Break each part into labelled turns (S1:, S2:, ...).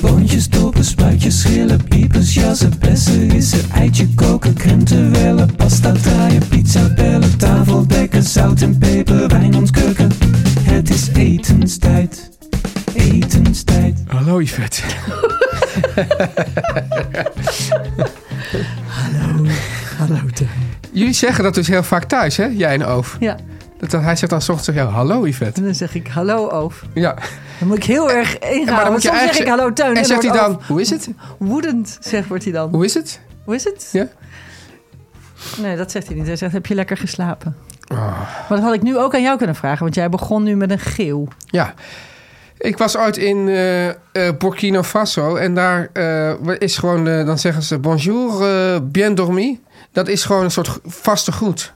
S1: Boontjes, dopen, spuitjes, schillen, piepers, jassen, bessen, rissen, er eitje koken, krenten wellen, pasta draaien, pizza bellen, tafel dekken, zout en peper, wijn ontkurken. Het is etenstijd, etenstijd.
S2: Hallo Yvette.
S1: Hallo Teun.
S2: Jullie zeggen dat dus heel vaak thuis, hè? Jij en Oof.
S3: Ja,
S2: Dat, dat hij zegt dan 's ochtends tegen jou, hallo Yvette.
S3: en dan zeg ik hallo Oof.
S2: Ja.
S3: Dan moet ik heel erg ingaan.
S2: Eh, dan
S3: want
S2: moet je
S3: soms zeg
S2: eigenlijk
S3: ik hallo Teun.
S2: En zegt hij
S3: wordt
S2: dan,
S3: Oof
S2: hoe is het?
S3: Woedend, zegt wordt hij dan.
S2: Hoe is het?
S3: Hoe is het?
S2: Ja?
S3: Nee, dat zegt hij niet. Hij zegt, heb je lekker geslapen?
S2: Ah.
S3: Maar dat had ik nu ook aan jou kunnen vragen. Want jij begon nu met een geel.
S2: Ja. Ik was ooit in eh, eh, Burkina Faso en daar eh, is gewoon, eh, dan zeggen ze bonjour, eh, bien dormi. Dat is gewoon een soort g- vaste groet.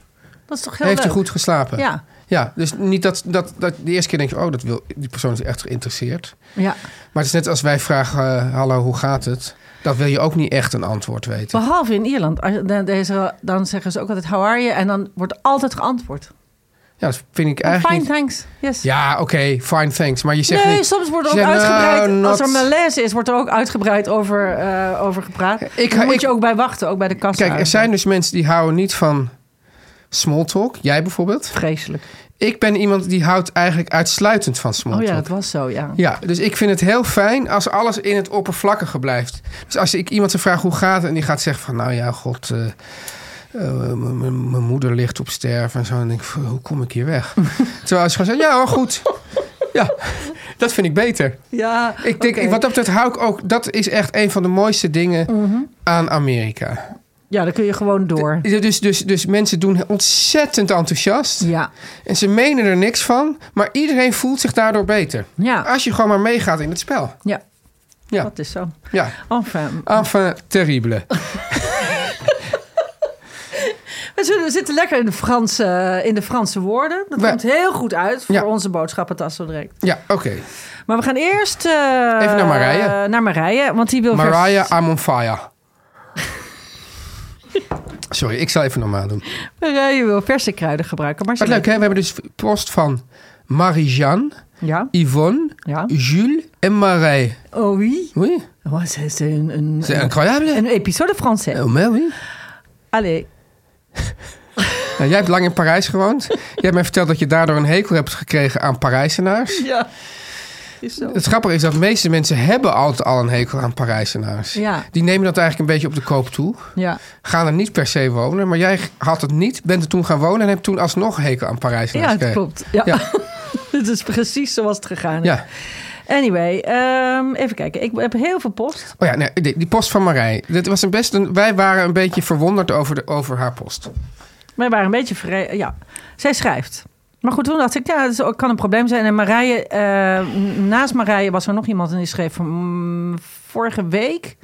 S3: Dat is toch heel
S2: Heeft
S3: leuk?
S2: u goed geslapen?
S3: Ja.
S2: Ja, dus niet dat, dat, dat de eerste keer denk je, oh, dat wil, die persoon is echt geïnteresseerd.
S3: ja.
S2: Maar het is net als wij vragen, eh, hallo, hoe gaat het? Dat wil je ook niet echt een antwoord weten.
S3: Behalve in Ierland. Als- dan- deze- Dan zeggen ze ook altijd how are you? En dan wordt altijd geantwoord.
S2: Ja, dat vind ik
S3: Fine,
S2: eigenlijk niet...
S3: thanks. Yes.
S2: Ja, oké, fine, thanks. Maar je zegt
S3: Nee,
S2: niet-
S3: soms wordt er
S2: je
S3: ook
S2: zegt, nou,
S3: uitgebreid. Als er
S2: not-
S3: malaise is, wordt er ook uitgebreid over, eh, over gepraat.
S2: Ik-
S3: Daar moet
S2: ik-
S3: je ook bij wachten, ook bij de kassa.
S2: Kijk, er zijn dus mensen die houden niet van small talk. Jij bijvoorbeeld.
S3: Vreselijk.
S2: Ik ben iemand die houdt eigenlijk uitsluitend van small
S3: Oh ja,
S2: talk.
S3: dat was zo, ja.
S2: Ja, dus ik vind het heel fijn als alles in het oppervlakkige blijft. Dus als ik iemand zou vragen hoe gaat het en die gaat zeggen van... nou ja, god, eh, eh, m- m- mijn moeder ligt op sterven en zo. En dan denk ik, van, hoe kom ik hier weg? Terwijl als je gewoon zegt, ja hoor, goed. Ja, dat vind ik beter.
S3: Ja,
S2: Ik denk,
S3: oké.
S2: wat dat betreft hou ik ook... dat is echt een van de mooiste dingen
S3: Mhm.
S2: aan Amerika.
S3: ja, dan kun je gewoon door.
S2: Dus, dus, dus mensen doen ontzettend enthousiast...
S3: Ja,
S2: En ze menen er niks van, maar iedereen voelt zich daardoor beter.
S3: Ja.
S2: Als je gewoon maar meegaat in het spel.
S3: ja,
S2: Ja.
S3: dat is zo.
S2: Ja.
S3: Enfin,
S2: Enfin, terrible.
S3: we, zullen- we zitten lekker in de Franse, in de Franse woorden. Dat
S2: We-
S3: komt heel goed uit voor
S2: Ja.
S3: onze boodschappentas zo direct.
S2: Ja, oké.
S3: Maar we gaan eerst... eh,
S2: Even naar Marije.
S3: eh, naar Marije, want die wil... vers-
S2: Mariah, I'm on fire. Sorry, ik zal even normaal doen.
S3: Marije wil verse kruiden gebruiken. Maar ze
S2: Wat leuk, hè? We hebben dus post van Marie-Jeanne,
S3: Ja,
S2: Yvonne,
S3: ja.
S2: Jules en Marij.
S3: Oh oui.
S2: Oui,
S3: Oh, c'est c'est een, een,
S2: c'est incroyable.
S3: een episode Français.
S2: Oh, mais oui.
S3: Allee.
S2: Nou, jij hebt lang in Parijs gewoond. Jij hebt mij verteld dat je daardoor een hekel hebt gekregen aan Parijzenaars.
S3: Ja. Is zo.
S2: Het grappige is dat de meeste mensen hebben altijd al een hekel aan Parijzenaars.
S3: Ja.
S2: Die nemen dat eigenlijk een beetje op de koop toe.
S3: Ja.
S2: Gaan er niet per se wonen. Maar jij had het niet, bent er toen gaan wonen... en hebt toen alsnog een hekel aan
S3: Ja,
S2: Parijzenaars
S3: het
S2: gekregen.
S3: klopt. Ja.
S2: Ja.
S3: Dit is precies zoals het gegaan is.
S2: Ja.
S3: Anyway, ehm, even kijken. Ik heb heel veel post.
S2: Oh ja, nee, die, die post van Marij. Dat was een best een, wij waren een beetje verwonderd over, de, over haar post.
S3: Wij waren een beetje vrij. Ja, zij schrijft. Maar goed, toen dacht ik, ja, dat is- kan een probleem zijn. En Marije, eh, naast Marije was er nog iemand en die schreef van, mm, vorige week,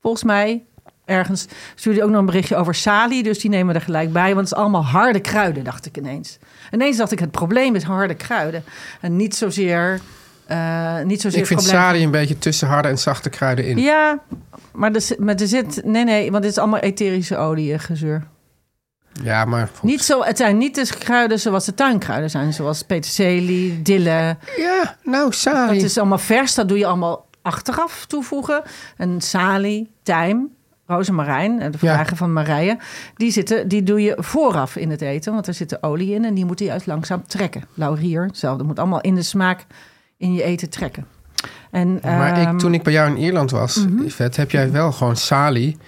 S3: volgens mij, ergens, stuurde ook nog een berichtje over Sali. Dus die nemen we er gelijk bij, want het is allemaal harde kruiden, dacht ik ineens. Ineens dacht ik, het probleem is harde kruiden. En niet zozeer... eh, niet zozeer
S2: ik vind
S3: het probleem
S2: Sari een beetje tussen harde en zachte kruiden in.
S3: Ja, maar er, zit- maar er zit... Nee, nee, want dit is allemaal etherische olie eh, gezeur.
S2: Ja, maar...
S3: Niet zo, het zijn niet de kruiden zoals de tuinkruiden zijn. Zoals peterselie, dille.
S2: Ja, nou,
S3: Dat
S2: Sari.
S3: is allemaal vers. Dat doe je allemaal achteraf toevoegen. En salie, tijm. Roos en Marijn, eh, de vragen van Marije, die, zitten, die doe je vooraf in het eten. Want er zitten olie in en die moet je juist langzaam trekken. Laurier, hetzelfde. Dat moet allemaal in de smaak in je eten trekken. En,
S2: Maar
S3: ehm, Mhm.
S2: ik, toen ik bij jou in Ierland was, Yvette, heb jij wel gewoon salie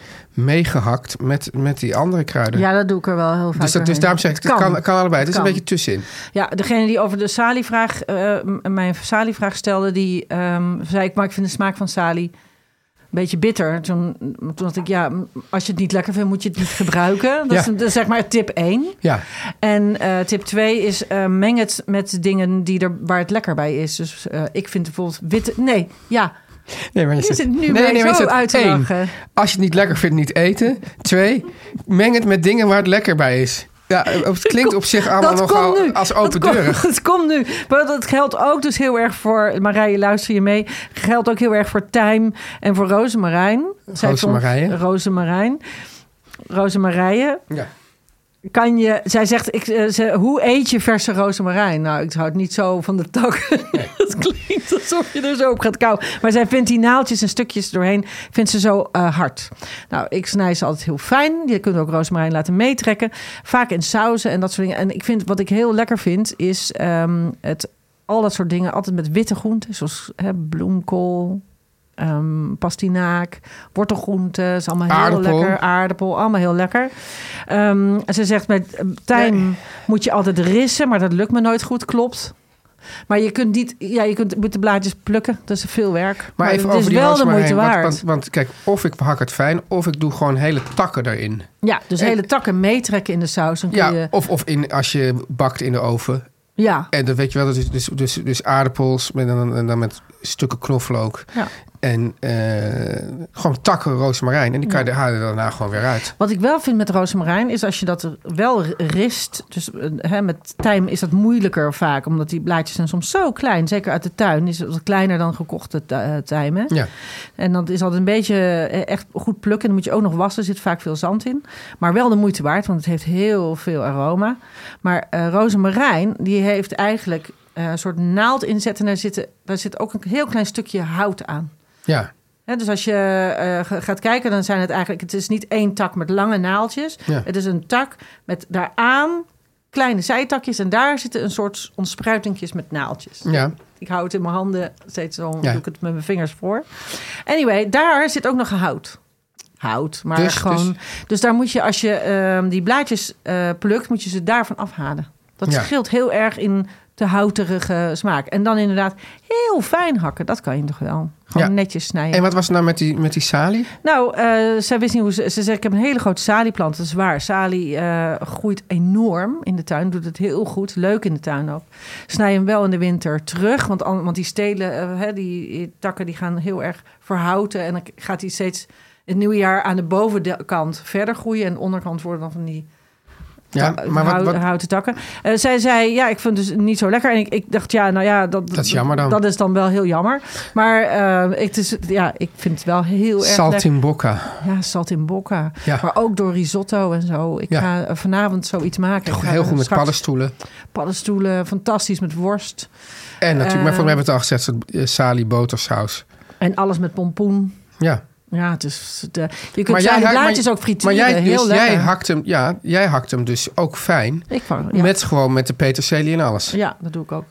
S2: meegehakt met, met die andere kruiden.
S3: Ja, dat doe ik er wel heel vaak
S2: dus, dat, dus
S3: doorheen.
S2: daarom zeg ik, het kan, kan allebei. Het is
S3: kan.
S2: een beetje tussenin.
S3: Ja, degene die over de salievraag, eh m- mijn salievraag stelde, die ehm, zei ik, maar ik vind de smaak van salie een beetje bitter. Toen, toen dacht ik, ja, m- als je het niet lekker vindt, moet je het niet gebruiken. Dat,
S2: Ja.
S3: is, dat is zeg maar tip 1.
S2: Ja,
S3: En eh, tip 2 is, eh, meng het met dingen die er, waar het lekker bij is. Dus eh, ik vind bijvoorbeeld witte... Nee, ja,
S2: Nee, maar
S3: je
S2: zit-
S3: zit nu
S2: nee,
S3: bij
S2: nee, maar je
S3: zo
S2: zit-
S3: uit te
S2: één,
S3: lachen.
S2: Als je het niet lekker vindt, niet eten. Twee, meng het met dingen waar het lekker bij is. Ja, het klinkt op zich allemaal
S3: dat
S2: nogal
S3: komt nu.
S2: als open
S3: dat
S2: deuren.
S3: Komt, dat komt nu. Maar dat geldt ook dus heel erg voor... Marije, luister je mee. Geldt ook heel erg voor Tijm en voor Rozemarijn.
S2: Rozemarije.
S3: Rozemarijn. Rozemarije.
S2: Ja.
S3: Kan je... Zij zegt, ik, eh, ze, hoe eet je verse rozemarijn? Nou, ik hou het niet zo van de tak. dat klinkt alsof je er zo op gaat kauwen. Maar zij vindt die naaltjes en stukjes doorheen... vindt ze zo eh, hard. Nou, ik snij ze altijd heel fijn. Je kunt ook rozemarijn laten meetrekken. Vaak in sauzen en dat soort dingen. En ik vind, wat ik heel lekker vind, is ehm, het, al dat soort dingen... altijd met witte groenten, zoals hè, bloemkool... ehm, pastinaak, wortelgroenten, is allemaal heel
S2: Aardappel.
S3: lekker. Aardappel, allemaal heel lekker. Ehm, ze zegt met eh, tijm moet je altijd rissen, maar dat lukt me nooit goed, klopt. Maar je kunt niet, ja, je kunt moet de blaadjes plukken. Dat is veel werk. Maar,
S2: Maar even
S3: het is
S2: over die
S3: wel de
S2: rozemarijn,
S3: moeite
S2: want-
S3: waard.
S2: Want, want kijk, of ik hak het fijn, of ik doe gewoon hele takken erin.
S3: ja, dus
S2: en-
S3: hele takken meetrekken in de saus. Dan kun ja,
S2: Ja,
S3: je,
S2: of, of in, als je bakt in de oven.
S3: ja,
S2: En dan weet je wel, dat is dus, dus, dus aardappels met, en dan, en dan met stukken knoflook.
S3: ja.
S2: En eh, gewoon takken rozemarijn. En die kan je haal je daarna gewoon weer uit.
S3: Wat ik wel vind met rozemarijn is als je dat er wel rist. Dus eh, hè, met tijm is dat moeilijker vaak, omdat die blaadjes zijn soms zo klein. Zeker uit de tuin is het wat kleiner dan gekochte tu- eh, tijm. Hè?
S2: Ja.
S3: En dat is altijd een beetje eh, echt goed plukken. Dan moet je ook nog wassen. Er zit vaak veel zand in. Maar wel de moeite waard, want het heeft heel veel aroma. Maar eh rozemarijn, die heeft eigenlijk eh, een soort naald inzet. En daar, zitten, daar zit ook een heel klein stukje hout aan.
S2: Ja,
S3: Hè, dus als je eh, ga- gaat kijken, dan zijn het eigenlijk... Het is niet één tak met lange naaldjes.
S2: Ja.
S3: Het is een tak met daaraan kleine zijtakjes. En daar zitten een soort ontspruitingjes met naaldjes.
S2: ja.
S3: Ik hou het in mijn handen, steeds zo
S2: Ja.
S3: doe ik het met mijn vingers voor. Anyway, daar zit ook nog hout. Hout, maar
S2: Dus-
S3: gewoon... Dus.
S2: dus-
S3: daar moet je, als je ehm, die blaadjes eh, plukt, moet je ze daarvan afhalen. Dat
S2: Ja.
S3: scheelt heel erg in de houterige smaak. En dan inderdaad heel fijn hakken, dat kan je toch wel. Gewoon
S2: Ja.
S3: netjes snijden.
S2: En wat was er nou met die, met die salie?
S3: Nou, eh zij wist niet hoe ze... Ze zei, ik heb een hele grote salieplant. Dat is waar. Salie eh, groeit enorm in de tuin. Doet het heel goed. Leuk in de tuin ook. Snij hem wel in de winter terug. Want, an- want die stelen, eh, hè, die, die takken, die gaan heel erg verhouten. En dan gaat hij steeds het nieuwe jaar aan de bovenkant verder groeien. En de onderkant worden dan van die
S2: Ja,
S3: ta-
S2: maar wat,
S3: Nou, hou-
S2: wat,
S3: houten takken. Eh, zij zei, ja, ik vind het dus niet zo lekker. En ik, ik dacht, ja, nou ja, dat,
S2: Dat is jammer dan.
S3: Dat is dan wel heel jammer. Maar eh, ik, het is, ja, ik vind het wel heel erg lekker.
S2: saltimbocca.
S3: Ja, zat in bokka.
S2: Ja.
S3: Maar ook door risotto en zo. Ik
S2: Ja.
S3: ga eh, vanavond zoiets maken. Ik ga
S2: Heel goed met
S3: straks
S2: paddenstoelen.
S3: paddenstoelen. Fantastisch met worst.
S2: En natuurlijk,
S3: Eh,
S2: maar voor mij hebben we het al gezegd, soort, eh, salie botersaus.
S3: En alles met pompoen.
S2: Ja.
S3: Ja, het is... De, je kunt zijn
S2: hakt-
S3: blaadjes ook frituren.
S2: Maar jij, dus,
S3: heel lekker.
S2: jij hakt hem, ja, jij hakt hem dus ook fijn.
S3: Ik vang, ja.
S2: Met gewoon met de peterselie en alles. Ja.
S3: ja, dat doe ik ook.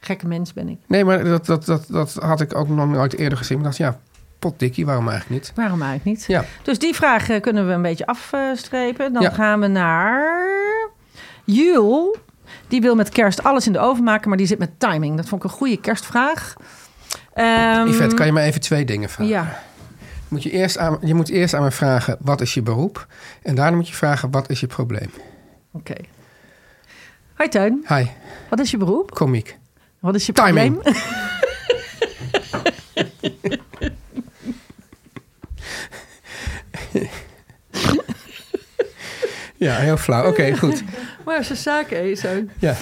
S3: Gekke mens ben ik.
S2: Nee, maar dat, dat, dat, dat had ik ook nog nooit eerder gezien. Ik dacht, ja, potdikkie, waarom eigenlijk niet?
S3: Waarom eigenlijk niet?
S2: Ja.
S3: Dus die vraag eh, kunnen we een beetje afstrepen. Dan
S2: Ja.
S3: gaan we naar... Jul. Die wil met kerst alles in de oven maken, maar die zit met timing. Dat vond ik een goede kerstvraag. Ehm,
S2: Yvette, kan je me even twee dingen vragen?
S3: Ja.
S2: Moet je, eerst aan, je moet eerst aan me vragen, wat is je beroep? En daarna moet je vragen, wat is je probleem?
S3: Oké. Hoi Tuin,
S2: Hi,
S3: wat is je beroep?
S2: komiek.
S3: Wat is je
S2: Timing.
S3: probleem?
S2: Ja, heel flauw. Oké, goed.
S3: Maar ze zaken is ook.
S2: Ja.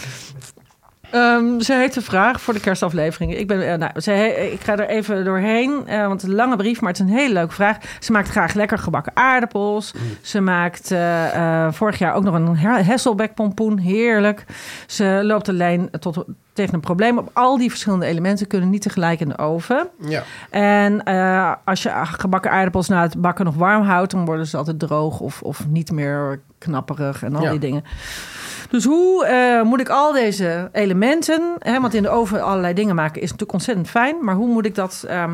S3: Ehm, ze heeft een vraag voor de kerstaflevering. Ik, ben, eh, nou, ze he- ik ga er even doorheen, eh, want het is een lange brief, maar het is een hele leuke vraag. Ze maakt graag lekker gebakken aardappels. Ze maakt eh, eh, vorig jaar ook nog een Hesselbeck pompoen, heerlijk. Ze loopt de lijn tot tegen een probleem op. Al die verschillende elementen kunnen niet tegelijk in de oven.
S2: Ja.
S3: En eh, als je gebakken aardappels na het bakken nog warm houdt, dan worden ze altijd droog of, of niet meer knapperig en al
S2: Ja.
S3: die dingen. Dus hoe eh, moet ik al deze elementen, hè, want in de oven allerlei dingen maken is natuurlijk ontzettend fijn, maar hoe moet ik dat, ehm,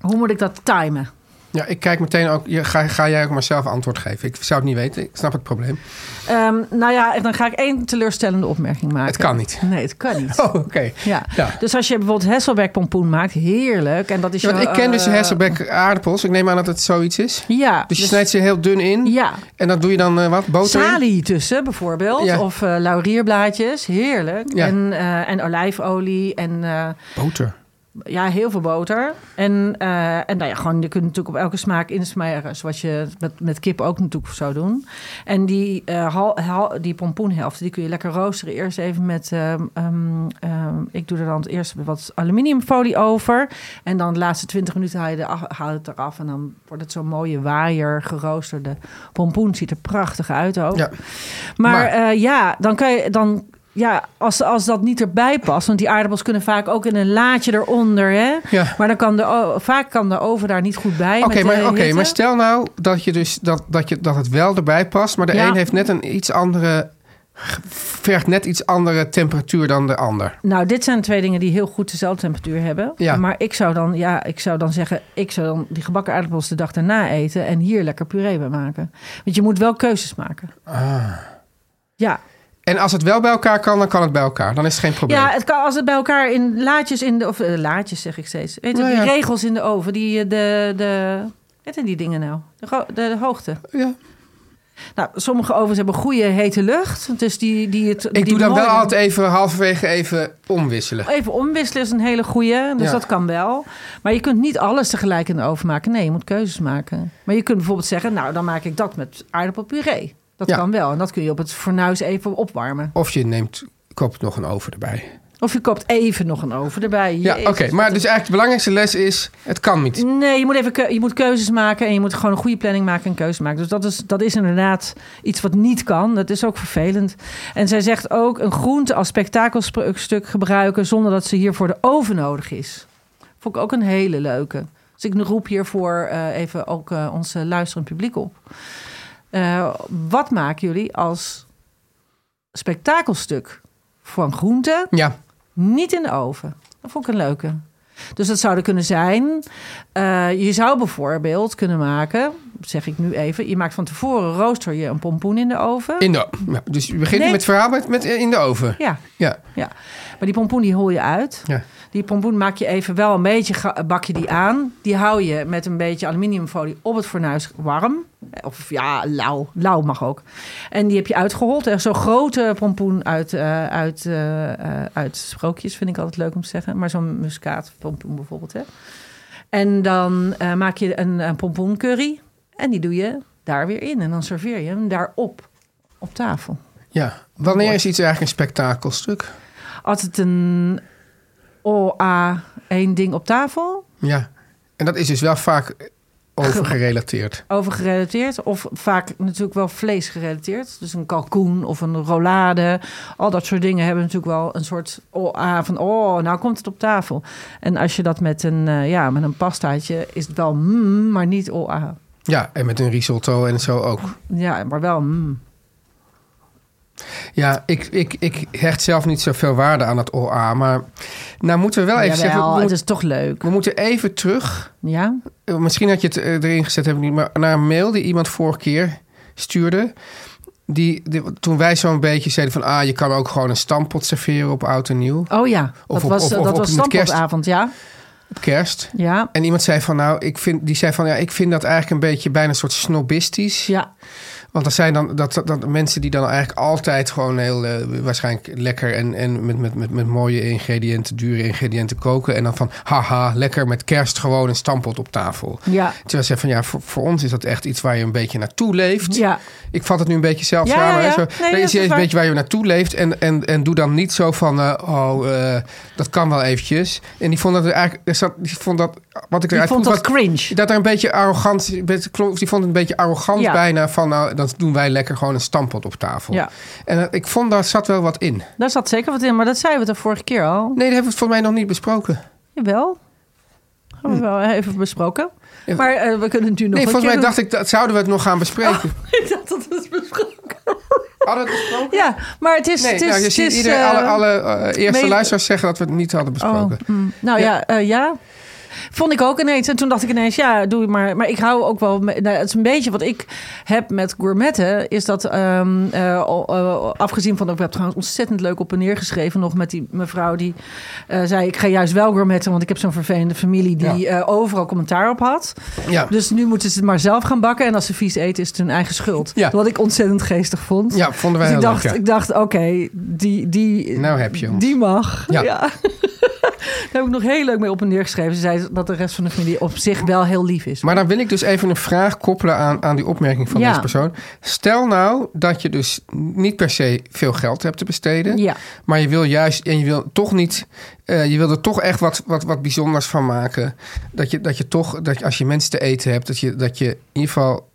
S3: hoe moet ik dat timen?
S2: ja, ik kijk meteen ook. je- Ga, ga jij ook maar zelf antwoord geven? Ik zou het niet weten. Ik snap het probleem.
S3: Ehm, nou ja, dan ga ik één teleurstellende opmerking maken.
S2: Het kan niet.
S3: Nee, het kan niet.
S2: Oh, oké.
S3: Ja.
S2: Ja.
S3: Dus als je bijvoorbeeld Hasselbeck pompoen maakt, heerlijk. En dat is
S2: Ja, want
S3: je,
S2: ik ken dus
S3: eh,
S2: Hasselbeck aardappels. Ik neem aan dat het zoiets is.
S3: Ja.
S2: Dus je snijdt ze heel dun in.
S3: Ja.
S2: En dan doe je dan eh, wat? Boter in?
S3: Salie tussen bijvoorbeeld.
S2: Ja.
S3: Of eh, laurierblaadjes. Heerlijk.
S2: Ja.
S3: En, eh, en olijfolie. En eh,
S2: Boter.
S3: ja, heel veel boter. En, eh, en nou ja, gewoon, je kunt natuurlijk op elke smaak insmeren. Zoals je met, met kip ook natuurlijk zou doen. En die, eh, hal, hal- die pompoenhelft, die kun je lekker roosteren. Eerst even met, ehm, ehm, ehm, ik doe er dan het eerst wat aluminiumfolie over. En dan de laatste 20 minuten haal je de, af- haal het eraf. En dan wordt het zo'n mooie waaier geroosterde pompoen. Ziet er prachtig uit ook.
S2: Ja.
S3: Maar,
S2: Maar-
S3: eh, ja, dan kan je dan. Ja, als, als dat niet erbij past, want die aardappels kunnen vaak ook in een laadje eronder. Hè?
S2: Ja.
S3: Maar dan kan de, o- vaak kan de oven daar niet goed bij.
S2: Oké,
S3: met eh, de
S2: maar, oké,
S3: hitte.
S2: maar stel nou dat, je dus, dat, dat, je, dat het wel erbij past, maar de
S3: Ja.
S2: een heeft net een iets andere. vergt net iets andere temperatuur dan de ander.
S3: Nou, dit zijn twee dingen die heel goed dezelfde temperatuur hebben.
S2: Ja.
S3: Maar ik zou, dan, ja, ik zou dan zeggen, ik zou dan die gebakken aardappels de dag daarna eten en hier lekker puree bij maken. Want je moet wel keuzes maken.
S2: Ah.
S3: Ja,
S2: En als het wel bij elkaar kan, dan kan het bij elkaar. Dan is het geen probleem.
S3: Ja, het kan, als het bij elkaar in laadjes in de... Of eh, laadjes zeg ik steeds. Weet je,
S2: Nou
S3: die
S2: ja.
S3: regels in de oven, die eh, de... de wat zijn die dingen nou? De, gro- de, de hoogte.
S2: Ja.
S3: Nou, sommige ovens hebben goede hete lucht. Dus die, die het...
S2: Ik
S3: die
S2: doe dan wel
S3: mooie-
S2: altijd even halverwege even omwisselen.
S3: Even omwisselen is een hele goede, dus
S2: Ja.
S3: dat kan wel. Maar je kunt niet alles tegelijk in de oven maken. Nee, je moet keuzes maken. Maar je kunt bijvoorbeeld zeggen, nou, dan maak ik dat met aardappelpuree. Dat
S2: Ja.
S3: kan wel. En dat kun je op het fornuis even opwarmen.
S2: Of je neemt koopt nog een oven erbij.
S3: Of je koopt even nog een oven erbij.
S2: Ja, oké.
S3: Jezus,
S2: Maar dus eigenlijk de belangrijkste les is: het kan niet.
S3: Nee, je moet, even keu- je moet keuzes maken en je moet gewoon een goede planning maken en keuzes maken. Dus dat is, dat is inderdaad iets wat niet kan. Dat is ook vervelend. En zij zegt ook een groente als spektakelstuk gebruiken zonder dat ze hiervoor de oven nodig is. Vond ik ook een hele leuke. Dus ik roep hiervoor eh, even ook eh ons eh, luisterend publiek op. Eh, wat maken jullie als spektakelstuk van groente
S2: Ja,
S3: niet in de oven. Dat vond ik een leuke. Dus dat zou er kunnen zijn. eh, je zou bijvoorbeeld kunnen maken, zeg ik nu even. Je maakt van tevoren rooster je een pompoen in de oven.
S2: in de, ja, dus je begint
S3: Nee.
S2: met het verhaal met, met in de oven.
S3: Ja,
S2: Ja.
S3: ja. Maar die pompoen die hol je uit.
S2: Ja.
S3: Die pompoen maak je even wel een beetje, ga- bak je die aan. Die hou je met een beetje aluminiumfolie op het fornuis warm. Of ja, lauw. Lauw mag ook. En die heb je uitgehold. Echt Zo'n grote pompoen uit, eh, uit, eh, eh, uit sprookjes vind ik altijd leuk om te zeggen. Maar zo'n muskaatpompoen bijvoorbeeld. Hè. En dan eh, maak je een, een pompoencurry. En die doe je daar weer in. En dan serveer je hem daarop. Op tafel.
S2: ja. Wanneer is iets eigenlijk een spektakelstuk?
S3: altijd een OA één ding op tafel
S2: Ja, en dat is dus wel vaak overgerelateerd.
S3: over gerelateerd. Of vaak natuurlijk wel vlees gerelateerd. Dus een kalkoen of een rollade. Al dat soort dingen hebben natuurlijk wel een soort OA van... oh, nou komt het op tafel. En als je dat met een, eh, ja, met een pastaatje... is het wel mm, maar niet OA.
S2: Ja, en met een risotto en zo ook.
S3: Ja, maar wel mm.
S2: Ja, ik, ik, ik hecht zelf niet zoveel waarde aan het OA, maar nou moeten we wel even
S3: Jawel,
S2: zeggen... We,
S3: het
S2: moet-
S3: is toch leuk.
S2: we moeten even terug,
S3: Ja?
S2: eh, misschien had je het eh, erin gezet, heb ik niet, maar naar een mail die iemand vorige keer stuurde... Die, die- toen wij zo'n beetje zeiden van... ah, je kan ook gewoon een stampot serveren op oud en nieuw,
S3: Oh ja,
S2: Of
S3: dat
S2: op-
S3: was,
S2: of-
S3: eh,
S2: of
S3: dat
S2: op
S3: was
S2: met kerst.
S3: stampotavond, ja.
S2: op kerst.
S3: Ja,
S2: En iemand zei van, nou, ik vind, die zei van... ja, ik vind dat eigenlijk een beetje bijna een soort snobistisch.
S3: ja.
S2: Want dat zijn dan dat, dat, dat mensen die dan eigenlijk altijd gewoon heel eh, waarschijnlijk lekker en, en met, met, met, met mooie ingrediënten, dure ingrediënten koken. En dan van haha, lekker met kerst gewoon een stampot op tafel.
S3: Ja.
S2: Terwijl ze van ja, voor, voor ons is dat echt iets waar je een beetje naartoe leeft.
S3: Ja.
S2: Ik vat het nu een beetje zelf
S3: Ja,
S2: samen.
S3: ja, ja.
S2: hè, Zo,
S3: Nee,
S2: er
S3: dat
S2: is
S3: is
S2: iets een
S3: waar.
S2: beetje waar je naartoe leeft. En, en, en doe dan niet zo van eh, oh, eh, dat kan wel eventjes. En die vond dat er eigenlijk, er zat- die vond dat, wat ik
S3: Die
S2: eruit
S3: vond
S2: proef,
S3: dat
S2: wat-
S3: cringe.
S2: dat er een beetje arrogant, een beetje klonk- die vond het een beetje arrogant
S3: Ja.
S2: bijna van, nou, dan dan doen wij lekker gewoon een stampot op tafel.
S3: Ja.
S2: En eh, ik vond daar zat wel wat in.
S3: Daar zat zeker wat in, maar dat zeiden we de vorige keer al.
S2: Nee, dat hebben we voor mij nog niet besproken.
S3: Jawel. Hebben we wel even besproken.
S2: Hm. Ja.
S3: Maar eh, we Oh. kunnen het nu nog
S2: nee,
S3: een
S2: volgens mij
S3: keer
S2: dacht ik dat zouden we het nog gaan bespreken.
S3: doen. Ik dacht dat het besproken
S2: Hadden we het besproken?
S3: Ja, maar het is...
S2: Nee,
S3: het is,
S2: nou, je
S3: het
S2: ziet
S3: is,
S2: iedereen,
S3: eh,
S2: alle, alle eh, eerste
S3: mede-
S2: luisteraars zeggen dat we het niet hadden besproken.
S3: Oh, mm. Nou ja, ja, eh, ja. Vond ik ook ineens. En toen dacht ik ineens, ja, doe je maar. Maar ik hou ook wel... me- nou, het is een beetje wat ik heb met gourmetten. Is dat, ehm, eh, o- eh, afgezien van... Ik heb trouwens ontzettend leuk op en neer geschreven nog met die mevrouw die eh, zei... Ik ga juist wel gourmetten, want ik heb zo'n vervelende familie... die eh, overal commentaar op had.
S2: Ja.
S3: Dus nu moeten ze het maar zelf gaan bakken. En als ze vies eten, is het hun eigen schuld.
S2: Ja.
S3: Wat ik ontzettend geestig vond.
S2: Ja, vonden wij
S3: Dus ik
S2: heel
S3: dacht,
S2: leuk, ja.
S3: ik dacht, oké, die, die,
S2: Nou heb je hem.
S3: die mag.
S2: Ja.
S3: Ja. Daar heb ik nog heel leuk mee op en neer geschreven. Ze zei dat de rest van de familie op zich wel heel lief is.
S2: Maar dan wil ik dus even een vraag koppelen aan, aan die opmerking van
S3: Ja.
S2: deze persoon. Stel nou dat je dus niet per se veel geld hebt te besteden.
S3: Ja.
S2: Maar je wil juist, en je wil toch niet, eh, je wil er toch echt wat, wat, wat bijzonders van maken. Dat je, dat je toch, dat je, als je mensen te eten hebt, dat je, dat je in ieder geval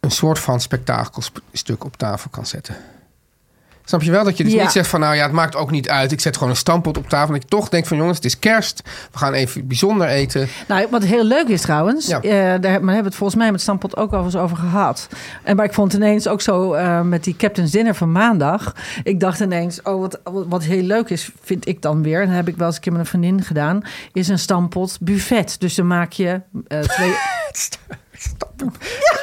S2: een soort van spektakelstuk op tafel kan zetten. Snap je wel dat je dus
S3: Ja.
S2: niet zegt van nou ja, het maakt ook niet uit. Ik zet gewoon een stampot op tafel. Dat je toch denkt van jongens, het is kerst. We gaan even bijzonder eten.
S3: Nou, wat heel leuk is trouwens,
S2: Ja.
S3: eh, daar hebben we het volgens mij met Stampot ook al eens over gehad. En, maar ik vond het ineens ook zo eh, met die Captain's Dinner van maandag. Ik dacht ineens, oh, wat, wat heel leuk is, vind ik dan weer. En dat heb ik wel eens een keer met een vriendin gedaan. Is een Stampot buffet. Dus dan maak je eh, twee.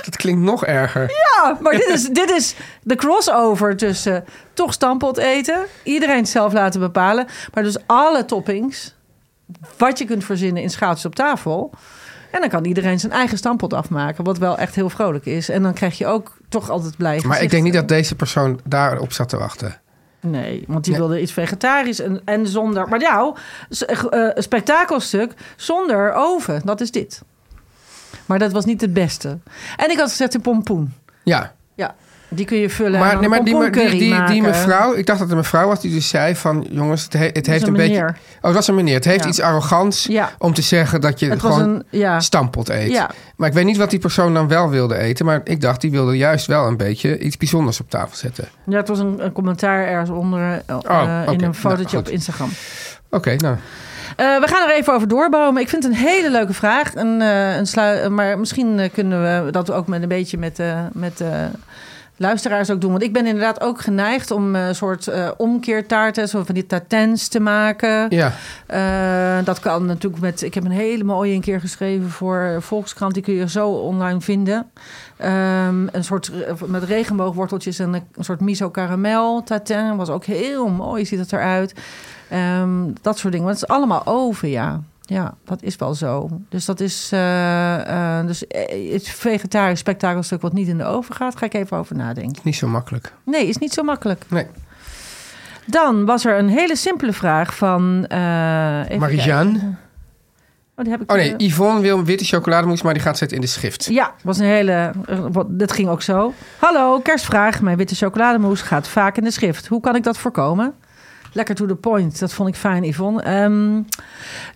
S2: Dat klinkt nog erger.
S3: ja, Oh, maar dit is, dit is de crossover tussen toch Stampot eten, iedereen het zelf laten bepalen. Maar dus alle toppings, wat je kunt verzinnen in schaaltjes op tafel. En dan kan iedereen zijn eigen stampot afmaken, wat wel echt heel vrolijk is. En dan krijg je ook toch altijd blij
S2: Maar ik
S3: gezichten.
S2: denk niet dat deze persoon daarop zat te wachten.
S3: Nee, want die
S2: Nee.
S3: wilde iets vegetarisch en, en zonder... Maar nou, s- eh, een spektakelstuk zonder oven, dat is dit. Maar dat was niet het beste. En ik had gezegd de pompoen.
S2: Ja,
S3: Ja, die kun je vullen en
S2: maar,
S3: dan
S2: nee, maar die, die,
S3: pompoencurry
S2: die, die,
S3: maken.
S2: mevrouw, ik dacht dat het een mevrouw was die dus zei van... jongens, het, he- het heeft
S3: een
S2: een, beetje...
S3: meneer.
S2: Oh, dat was een meneer. Het heeft
S3: Ja.
S2: iets arrogants
S3: Ja.
S2: om te zeggen dat je
S3: Het was
S2: gewoon
S3: een- ja.
S2: stampot eet.
S3: Ja.
S2: Maar ik weet niet wat die persoon dan wel wilde eten. Maar ik dacht, die wilde juist wel een beetje iets bijzonders op tafel zetten.
S3: Ja, het was een, een commentaar ergens onder eh, eh,
S2: oké.
S3: in
S2: Nou,
S3: een fotootje
S2: goed.
S3: op Instagram.
S2: Oké, nou.
S3: Eh, we gaan er even over doorbomen. Ik vind het een hele leuke vraag. Een, eh, een slu- maar misschien eh, kunnen we dat ook met een beetje met, eh, met eh, luisteraars ook doen. Want ik ben inderdaad ook geneigd om eh, een soort eh, omkeertaarten, zo van die tatens te maken.
S2: Ja.
S3: Eh, dat kan natuurlijk met. Ik heb een hele mooie een keer geschreven voor Volkskrant. Die kun je zo online vinden. Ehm, een soort re- met regenboogworteltjes en een, een soort miso caramel tatin was ook heel mooi. Ziet het eruit. Ehm, dat soort dingen. Maar het is allemaal oven, ja. Ja, dat is wel zo. Dus dat is eh, eh, dus eh, het vegetarisch spektakelstuk wat niet in de oven gaat. Ga ik even over nadenken.
S2: Niet zo makkelijk.
S3: Nee, is niet zo makkelijk.
S2: Nee.
S3: Dan was er een hele simpele vraag van. eh even kijken.
S2: Marie-Jeanne?
S3: Oh, die heb ik.
S2: Oh nee,
S3: eh,
S2: Yvonne wil witte chocolademousse, maar die gaat zetten in de schrift.
S3: ja, was een hele. eh, wat- Dit ging ook zo. Hallo, kerstvraag. Mijn witte chocolademousse gaat vaak in de schrift. Hoe kan ik dat voorkomen? Lekker to the point. Dat vond ik fijn, Yvonne. Ehm,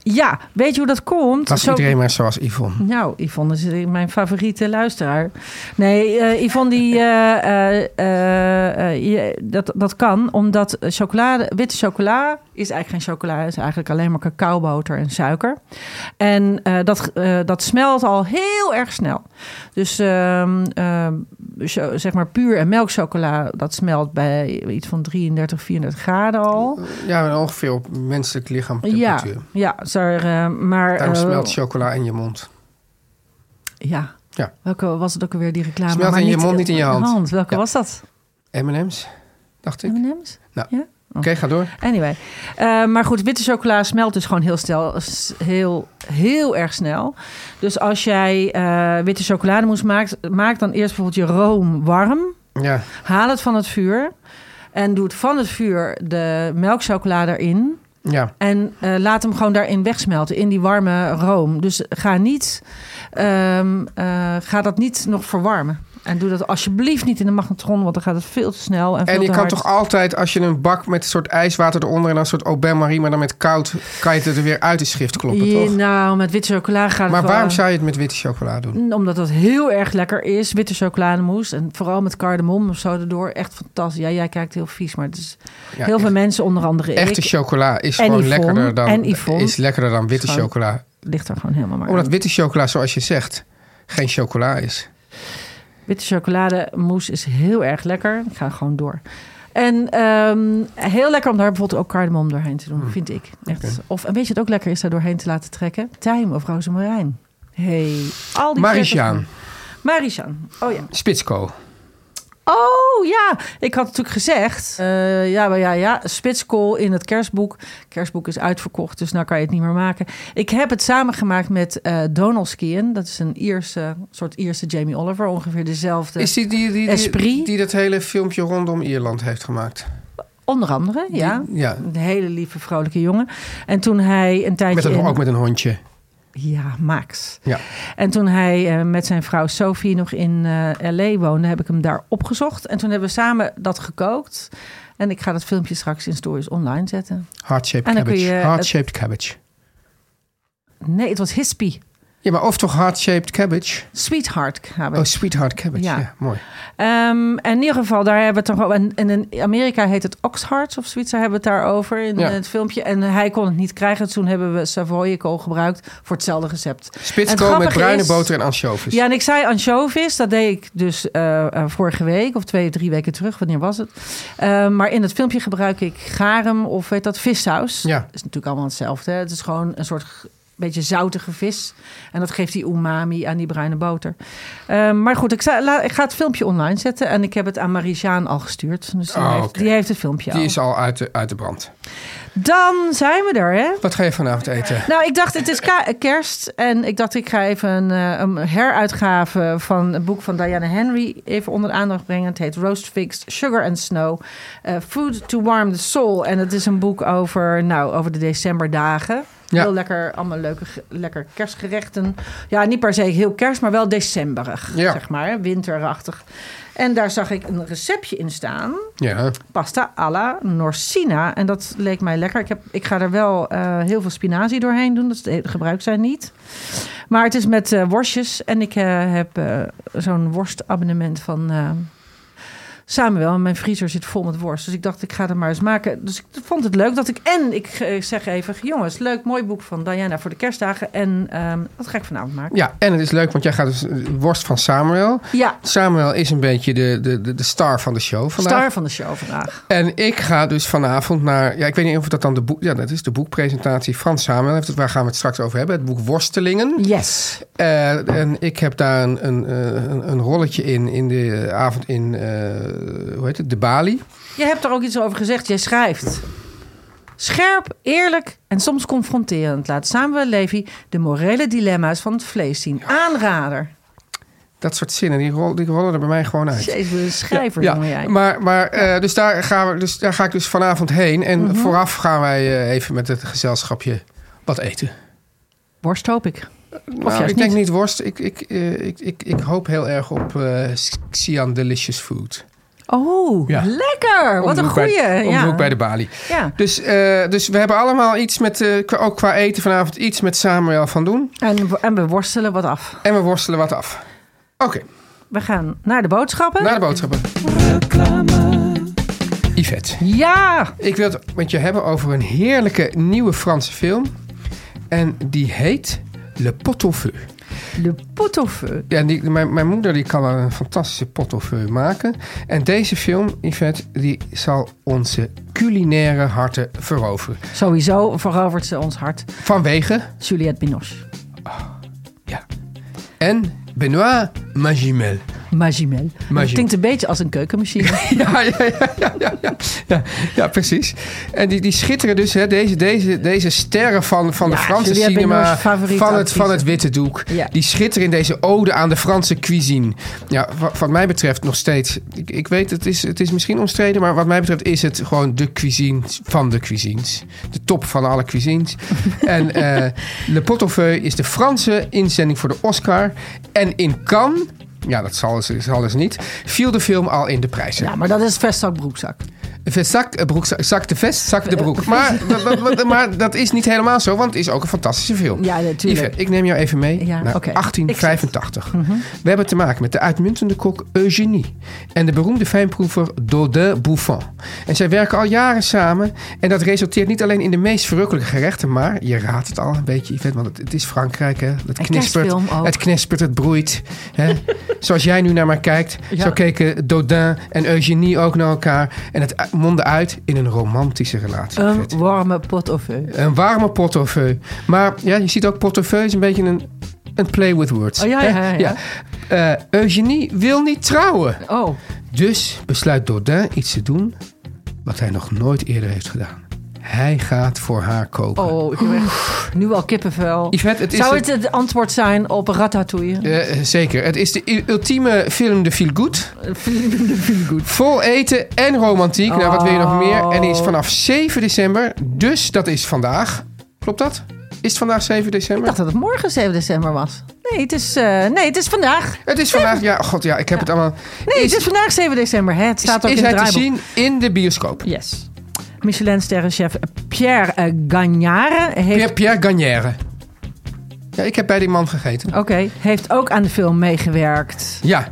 S3: ja, weet je hoe dat komt?
S2: Was
S3: Zo-
S2: iedereen maar zoals Yvonne.
S3: Nou, Yvonne is mijn favoriete luisteraar. Nee, eh, Yvonne, die, eh, eh, eh, eh, je- dat, dat kan omdat chocolade, witte chocola is eigenlijk geen chocola. is eigenlijk alleen maar cacaoboter en suiker. En eh, dat, eh, dat smelt al heel erg snel. Dus ehm, ehm, cho- zeg maar puur en melkchocola, dat smelt bij iets van 33, 34 graden al.
S2: Ja, ongeveer op menselijk
S3: Ja,
S2: lichaamtemperatuur.
S3: ja sorry, eh, maar...
S2: Daarom
S3: eh,
S2: smelt chocola in je mond.
S3: Ja.
S2: Ja.
S3: Welke was het ook alweer, die reclame?
S2: Smelt
S3: Maar
S2: in je mond, niet in je hand.
S3: Welke
S2: Ja.
S3: was dat?
S2: M&M's, dacht ik. Oké,
S3: M&M's?
S2: Nou.
S3: Ja? Oh.
S2: ga door.
S3: Anyway. Eh, maar goed, witte chocola smelt dus gewoon heel, stel, s- heel, heel erg snel. Dus als jij eh, witte chocolademousse maakt, maak dan eerst bijvoorbeeld je room warm.
S2: Ja,
S3: Haal het van het vuur. En doe het van het vuur de melkchocolade erin.
S2: ja.
S3: En eh, laat hem gewoon daarin wegsmelten, in die warme room. Dus ga, niet, ehm, eh, ga dat niet nog verwarmen. En doe dat alsjeblieft niet in de magnetron, want dan gaat het veel te snel. En, veel
S2: En je
S3: te
S2: kan
S3: hard.
S2: toch altijd, als je een bak met een soort ijswater eronder en dan een soort au bain-marie, maar dan met koud, kan je het er weer uit de schrift kloppen,
S3: Ja,
S2: toch?
S3: Nou, met witte chocola gaat
S2: Maar
S3: het
S2: waarom
S3: wel,
S2: zou je het met witte chocola doen?
S3: Omdat dat heel erg lekker is, witte chocolademousse. En vooral met cardamom of zo erdoor. Echt fantastisch. Ja, jij kijkt heel vies, maar het is
S2: Ja,
S3: heel veel
S2: echt-
S3: mensen, onder andere
S2: Echte
S3: ik,
S2: chocola is
S3: En
S2: gewoon
S3: Yvonne.
S2: lekkerder dan,
S3: En Yvonne.
S2: is lekkerder dan witte
S3: Is gewoon-
S2: chocola.
S3: ligt er gewoon helemaal maar
S2: Omdat
S3: aan.
S2: witte chocola, zoals je zegt, geen chocola is.
S3: Witte chocolademousse is heel erg lekker. Ik ga gewoon door. En ehm, heel lekker om daar bijvoorbeeld ook cardamom doorheen te doen, vind ik. Echt. Of en weet je het ook lekker is daar doorheen te laten trekken? Tijm of rozemarijn. Hey, al die
S2: Marisjaan,
S3: vetten. Marisjaan. Oh ja.
S2: Spitsko.
S3: Oh ja, ik had natuurlijk gezegd. eh, ja, maar ja, ja. Spitskool in het kerstboek. Kerstboek is uitverkocht, dus nou kan je het niet meer maken. Ik heb het samengemaakt met eh Donald Skiën. Dat is een Ierse, soort Ierse Jamie Oliver. Ongeveer dezelfde.
S2: Is die die, die, die,
S3: Esprit?
S2: die, dat hele filmpje rondom Ierland heeft gemaakt?
S3: Onder andere, ja.
S2: Ja,
S3: Een hele lieve, vrolijke jongen. En toen hij een tijdje...
S2: met een,
S3: in-
S2: ook met een hondje.
S3: Ja, Max.
S2: Ja.
S3: En toen hij eh, met zijn vrouw Sophie nog in eh L.A. woonde... heb ik hem daar opgezocht. En toen hebben we samen dat gekookt. En ik ga dat filmpje straks in Stories online zetten.
S2: Heart-shaped
S3: En dan kun
S2: cabbage.
S3: je het-
S2: Heart-shaped cabbage.
S3: Nee, het was hispie.
S2: Ja, maar of toch heart-shaped cabbage?
S3: Sweetheart hebben
S2: Oh, sweetheart cabbage.
S3: Ja.
S2: Ja, mooi.
S3: Ehm, en in ieder geval, daar hebben we het toch wel- en, en in Amerika heet het Oxhearts of zoiets. Daar hebben we het daarover in
S2: Ja.
S3: eh, het filmpje. En hij kon het niet krijgen. Dus toen hebben we Savoyekool gebruikt voor hetzelfde recept. En het
S2: Spitsko met
S3: grappige
S2: bruine
S3: is-
S2: boter en ansjovis.
S3: Ja, en ik zei anchovies. Dat deed ik dus eh, eh, vorige week of twee, drie weken terug. Wanneer was het? Eh, maar in het filmpje gebruik ik garum of weet dat, vissaus.
S2: Ja.
S3: is natuurlijk allemaal hetzelfde. Hè? Het is gewoon een soort g- beetje zoutige vis. En dat geeft die umami aan die bruine boter. Eh, maar goed, ik, zei, la- ik ga het filmpje online zetten. En ik heb het aan Marie-Jaan al gestuurd. Dus die,
S2: Oh,
S3: heeft,
S2: oké.
S3: die heeft het filmpje
S2: Die
S3: al.
S2: is al uit de, uit de brand.
S3: Dan zijn we er, hè?
S2: Wat ga je vanavond eten?
S3: Nou, ik dacht, het is ka- kerst. En ik dacht, ik ga even een, eh, een heruitgave van het boek van Diana Henry even onder de aandacht brengen. Het heet Roast Fixed, Sugar and Snow. eh, Food to Warm the Soul. En het is een boek over, nou, over de decemberdagen.
S2: Ja.
S3: Heel lekker, allemaal leuke, ge- lekker kerstgerechten. Ja, niet per se heel kerst, maar wel decemberig,
S2: Ja.
S3: zeg maar. hè, Winterachtig. En daar zag ik een receptje in staan
S2: Ja,
S3: pasta alla Norsina. En dat leek mij lekker. Ik, heb, ik ga er wel eh, heel veel spinazie doorheen doen. Dat is- gebruikt zij niet. Maar het is met eh, worstjes. En ik eh, heb eh, zo'n worstabonnement van eh, Samuel. En mijn vriezer zit vol met worst. Dus ik dacht, ik ga er maar eens maken. Dus ik vond het leuk dat ik... En ik eh, zeg even, jongens, leuk, mooi boek van Diana voor de kerstdagen. En ehm, dat ga ik vanavond maken.
S2: ja, en het is leuk, want jij gaat dus eh, worst van Samuel.
S3: Ja,
S2: Samuel is een beetje de, de, de, de star van de show vandaag.
S3: star van de show vandaag.
S2: En ik ga dus vanavond naar... Ja, ik weet niet of dat dan de boek... Ja, dat is de boekpresentatie. Frans Samuel heeft het. Waar gaan we het straks over hebben? Het boek Worstelingen.
S3: Yes.
S2: Eh, en ik heb daar een, een, eh, een, een rolletje in, in de avond in, eh, hoe heet het, de Bali.
S3: Je hebt er ook iets over gezegd. Jij schrijft. Scherp, eerlijk en soms confronterend laat Samuel Levy de morele dilemma's van het vlees zien. Aanrader.
S2: Dat soort zinnen, die, rol, die rollen er bij mij gewoon uit.
S3: Jezus, wat een schrijver, jongen jij.
S2: maar, maar eh, dus, daar gaan we, dus daar ga ik dus vanavond heen. En
S3: Mhm.
S2: vooraf gaan wij eh, even met het gezelschapje wat eten.
S3: Worst hoop ik.
S2: Nou,
S3: juist
S2: ik denk
S3: niet.
S2: niet, worst. Ik, ik, eh, ik, ik, ik hoop heel erg op eh Xian Delicious Food.
S3: Oh,
S2: Ja.
S3: lekker. Wat
S2: Om de
S3: een
S2: hoek bij-
S3: goeie.
S2: Om de
S3: ja.
S2: hoek bij de Bali.
S3: ja.
S2: Dus, eh, dus we hebben allemaal iets met, eh, qua- ook qua eten vanavond, iets met Samuel van doen.
S3: En, en we worstelen wat af.
S2: En we worstelen wat af. Oké,
S3: We gaan naar de boodschappen.
S2: naar de boodschappen. Yvette,
S3: Ja.
S2: ik wil het met je hebben over een heerlijke nieuwe Franse film. En die heet Le Pot au Feu.
S3: Le pot au feu.
S2: Ja, die, mijn, mijn moeder die kan wel een fantastische pot au feu maken. En deze film, Yvette, die zal onze culinaire harten veroveren.
S3: Sowieso verovert ze ons hart.
S2: Vanwege,
S3: Juliette Binoche.
S2: ja, en Benoît Magimel.
S3: Magimel. Dat
S2: Magimel.
S3: klinkt een beetje als een keukenmachine.
S2: Ja, ja, ja, ja, ja, ja, ja, ja, precies. En die, die schitteren dus, hè, deze, deze, deze sterren van, van
S3: Ja,
S2: de Franse
S3: Juliette
S2: cinema,
S3: Binoche, favoriete
S2: van het,
S3: actrice.
S2: van het witte doek.
S3: Ja.
S2: Die schitteren in deze ode aan de Franse cuisine. Ja, wa- wat mij betreft nog steeds, ik, ik weet het is, het is misschien omstreden, maar wat mij betreft is het gewoon de cuisine van de cuisines. De top van alle cuisines. en eh Le Pot au Feu is de Franse inzending voor de Oscar. En in Cannes Ja, dat zal, dus- zal dus niet. Viel de film al in de prijzen.
S3: Ja, maar dat is vestzak, broekzak.
S2: Zak, eh, broek, zak, zak de vest, zak de
S3: Eh,
S2: broek. Maar, wa- wa- wa- maar dat is niet helemaal zo, want het is ook een fantastische film.
S3: Ja, natuurlijk.
S2: Yves, ik neem jou even mee
S3: Ja,
S2: naar
S3: oké. Mhm.
S2: 1885. We hebben te maken met de uitmuntende kok Eugenie en de beroemde fijnproever Dodin Bouffant. En zij werken al jaren samen en dat resulteert niet alleen in de meest verrukkelijke gerechten, maar je raadt het al een beetje, Yvette, want het, het is Frankrijk, hè? Het knispert,
S3: kerstfilm ook.
S2: het knispert, het broeit. Hè? Zoals jij nu naar mij kijkt,
S3: Ja.
S2: zo keken Dodin en Eugenie ook naar elkaar en het mondde uit in een romantische relatie. Yvette.
S3: Een warme pot au feu.
S2: Een warme portefeuille. Maar ja, je ziet ook portefeuille is een beetje een, een play with words.
S3: Oh, ja, ja, ja, ja.
S2: Eh, Eugenie wil niet trouwen.
S3: Oh,
S2: Dus besluit Dodin iets te doen wat hij nog nooit eerder heeft gedaan. Hij gaat voor haar koken.
S3: oh, ik heb echt nu al kippenvel.
S2: Yvette, het is
S3: Zou
S2: de-
S3: het het antwoord zijn op ratatouille?
S2: Eh, eh, zeker. Het is de u- ultieme film de feel good. Vol eten en romantiek. Nou, wat wil je nog meer? En
S3: Oh.
S2: die is vanaf 7 december. Dus dat is vandaag. Klopt dat? Is het vandaag 7 december?
S3: Ik dacht dat het morgen 7 december was. Nee, het is, eh, nee, het is vandaag.
S2: Het is vandaag. Ja, oh god ja, ik heb het allemaal.
S3: Nee,
S2: is,
S3: het is vandaag 7 december. Hè? Het staat ook
S2: is
S3: in
S2: hij
S3: het
S2: te
S3: draaiboek.
S2: zien in de bioscoop?
S3: Yes. Michelin-sterrenchef Pierre eh, Gagnare heeft,
S2: Pierre, Pierre Gagnère. Ja, ik heb bij die man gegeten.
S3: Oké, heeft ook aan de film meegewerkt.
S2: Ja.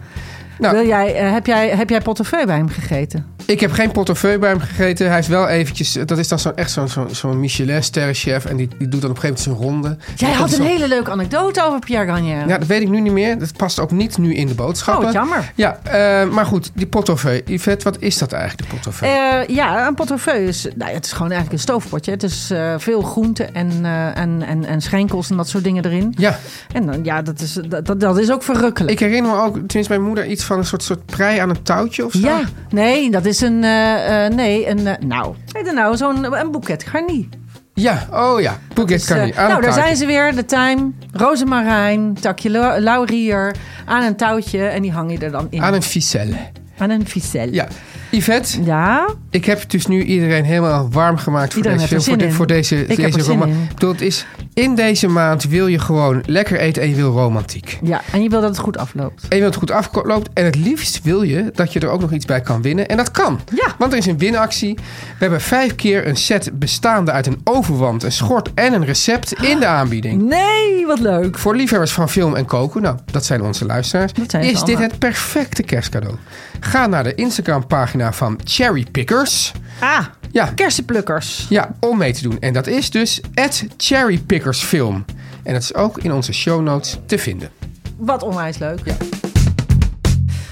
S2: Nou,
S3: Wil jij, eh, heb jij, heb jij portefeuille bij hem gegeten?
S2: ik heb geen portefeuille bij hem gegeten. Hij is wel eventjes... Dat is dan zo'n echt zo'n zo'n zo'n Michelin-sterrenchef. En die, die doet dan op een gegeven moment zijn ronde.
S3: Jij
S2: En dan
S3: had
S2: komt
S3: een
S2: hij zo-
S3: hele leuke anekdote over Pierre Gagnère.
S2: Ja, dat weet ik nu niet meer. Dat past ook niet nu in de
S3: oh,
S2: boodschappen.
S3: wat jammer.
S2: Ja, eh, maar goed. Die portefeuille. Yvette, wat is dat eigenlijk, de portefeuille?
S3: Eh, ja, een portefeuille is... Nou, ja, het is gewoon eigenlijk een stoofpotje. Het is eh, veel groente en, eh, en, en, en schenkels en dat soort dingen erin.
S2: ja,
S3: En dan, ja, dat is, dat, dat, dat is ook verrukkelijk.
S2: ik herinner me ook, tenminste mijn moeder, iets van een soort, soort prei aan een touwtje of zo.
S3: Ja, nee, dat is een... eh, eh, nee, een... eh, nou, weet je nou, zo'n een boeket garni.
S2: Ja, oh ja. Bouquet
S3: Dus,
S2: kan
S3: eh,
S2: niet. Aan
S3: nou,
S2: een
S3: daar
S2: touwtje.
S3: zijn ze weer. De tijm, rozemarijn, takje lau- laurier aan een touwtje. En die hang je er dan in.
S2: Aan een ficelle.
S3: Aan een ficel.
S2: Ja. Yvette,
S3: Ja,
S2: ik heb dus nu iedereen helemaal warm gemaakt voor
S3: Iedereen
S2: deze
S3: heeft
S2: film.
S3: er
S2: Voor,
S3: zin
S2: de-
S3: in.
S2: voor deze,
S3: Ik heb
S2: deze
S3: er zin
S2: roman.
S3: in.
S2: Ik bedoel, het is, in deze maand wil je gewoon lekker eten en je wil romantiek.
S3: ja, en je wil dat het goed afloopt.
S2: En je wilt goed afloopt. En het liefst wil je dat je er ook nog iets bij kan winnen. En dat kan.
S3: Ja.
S2: Want er is een winactie. We hebben vijf keer een set bestaande uit een overwand, een schort en een recept in de aanbieding.
S3: Nee, wat leuk.
S2: Voor liefhebbers van film en koken, nou, dat zijn onze luisteraars,
S3: Dat zijn ze
S2: is dit
S3: allemaal.
S2: het perfecte kerstcadeau. Ga naar de Instagram-pagina van Cherry Pickers.
S3: Ah,
S2: Ja,
S3: kersenplukkers.
S2: ja, om mee te doen. En dat is dus at cherrypickersfilm. En dat is ook in onze show notes te vinden.
S3: Wat onwijs leuk. Ja,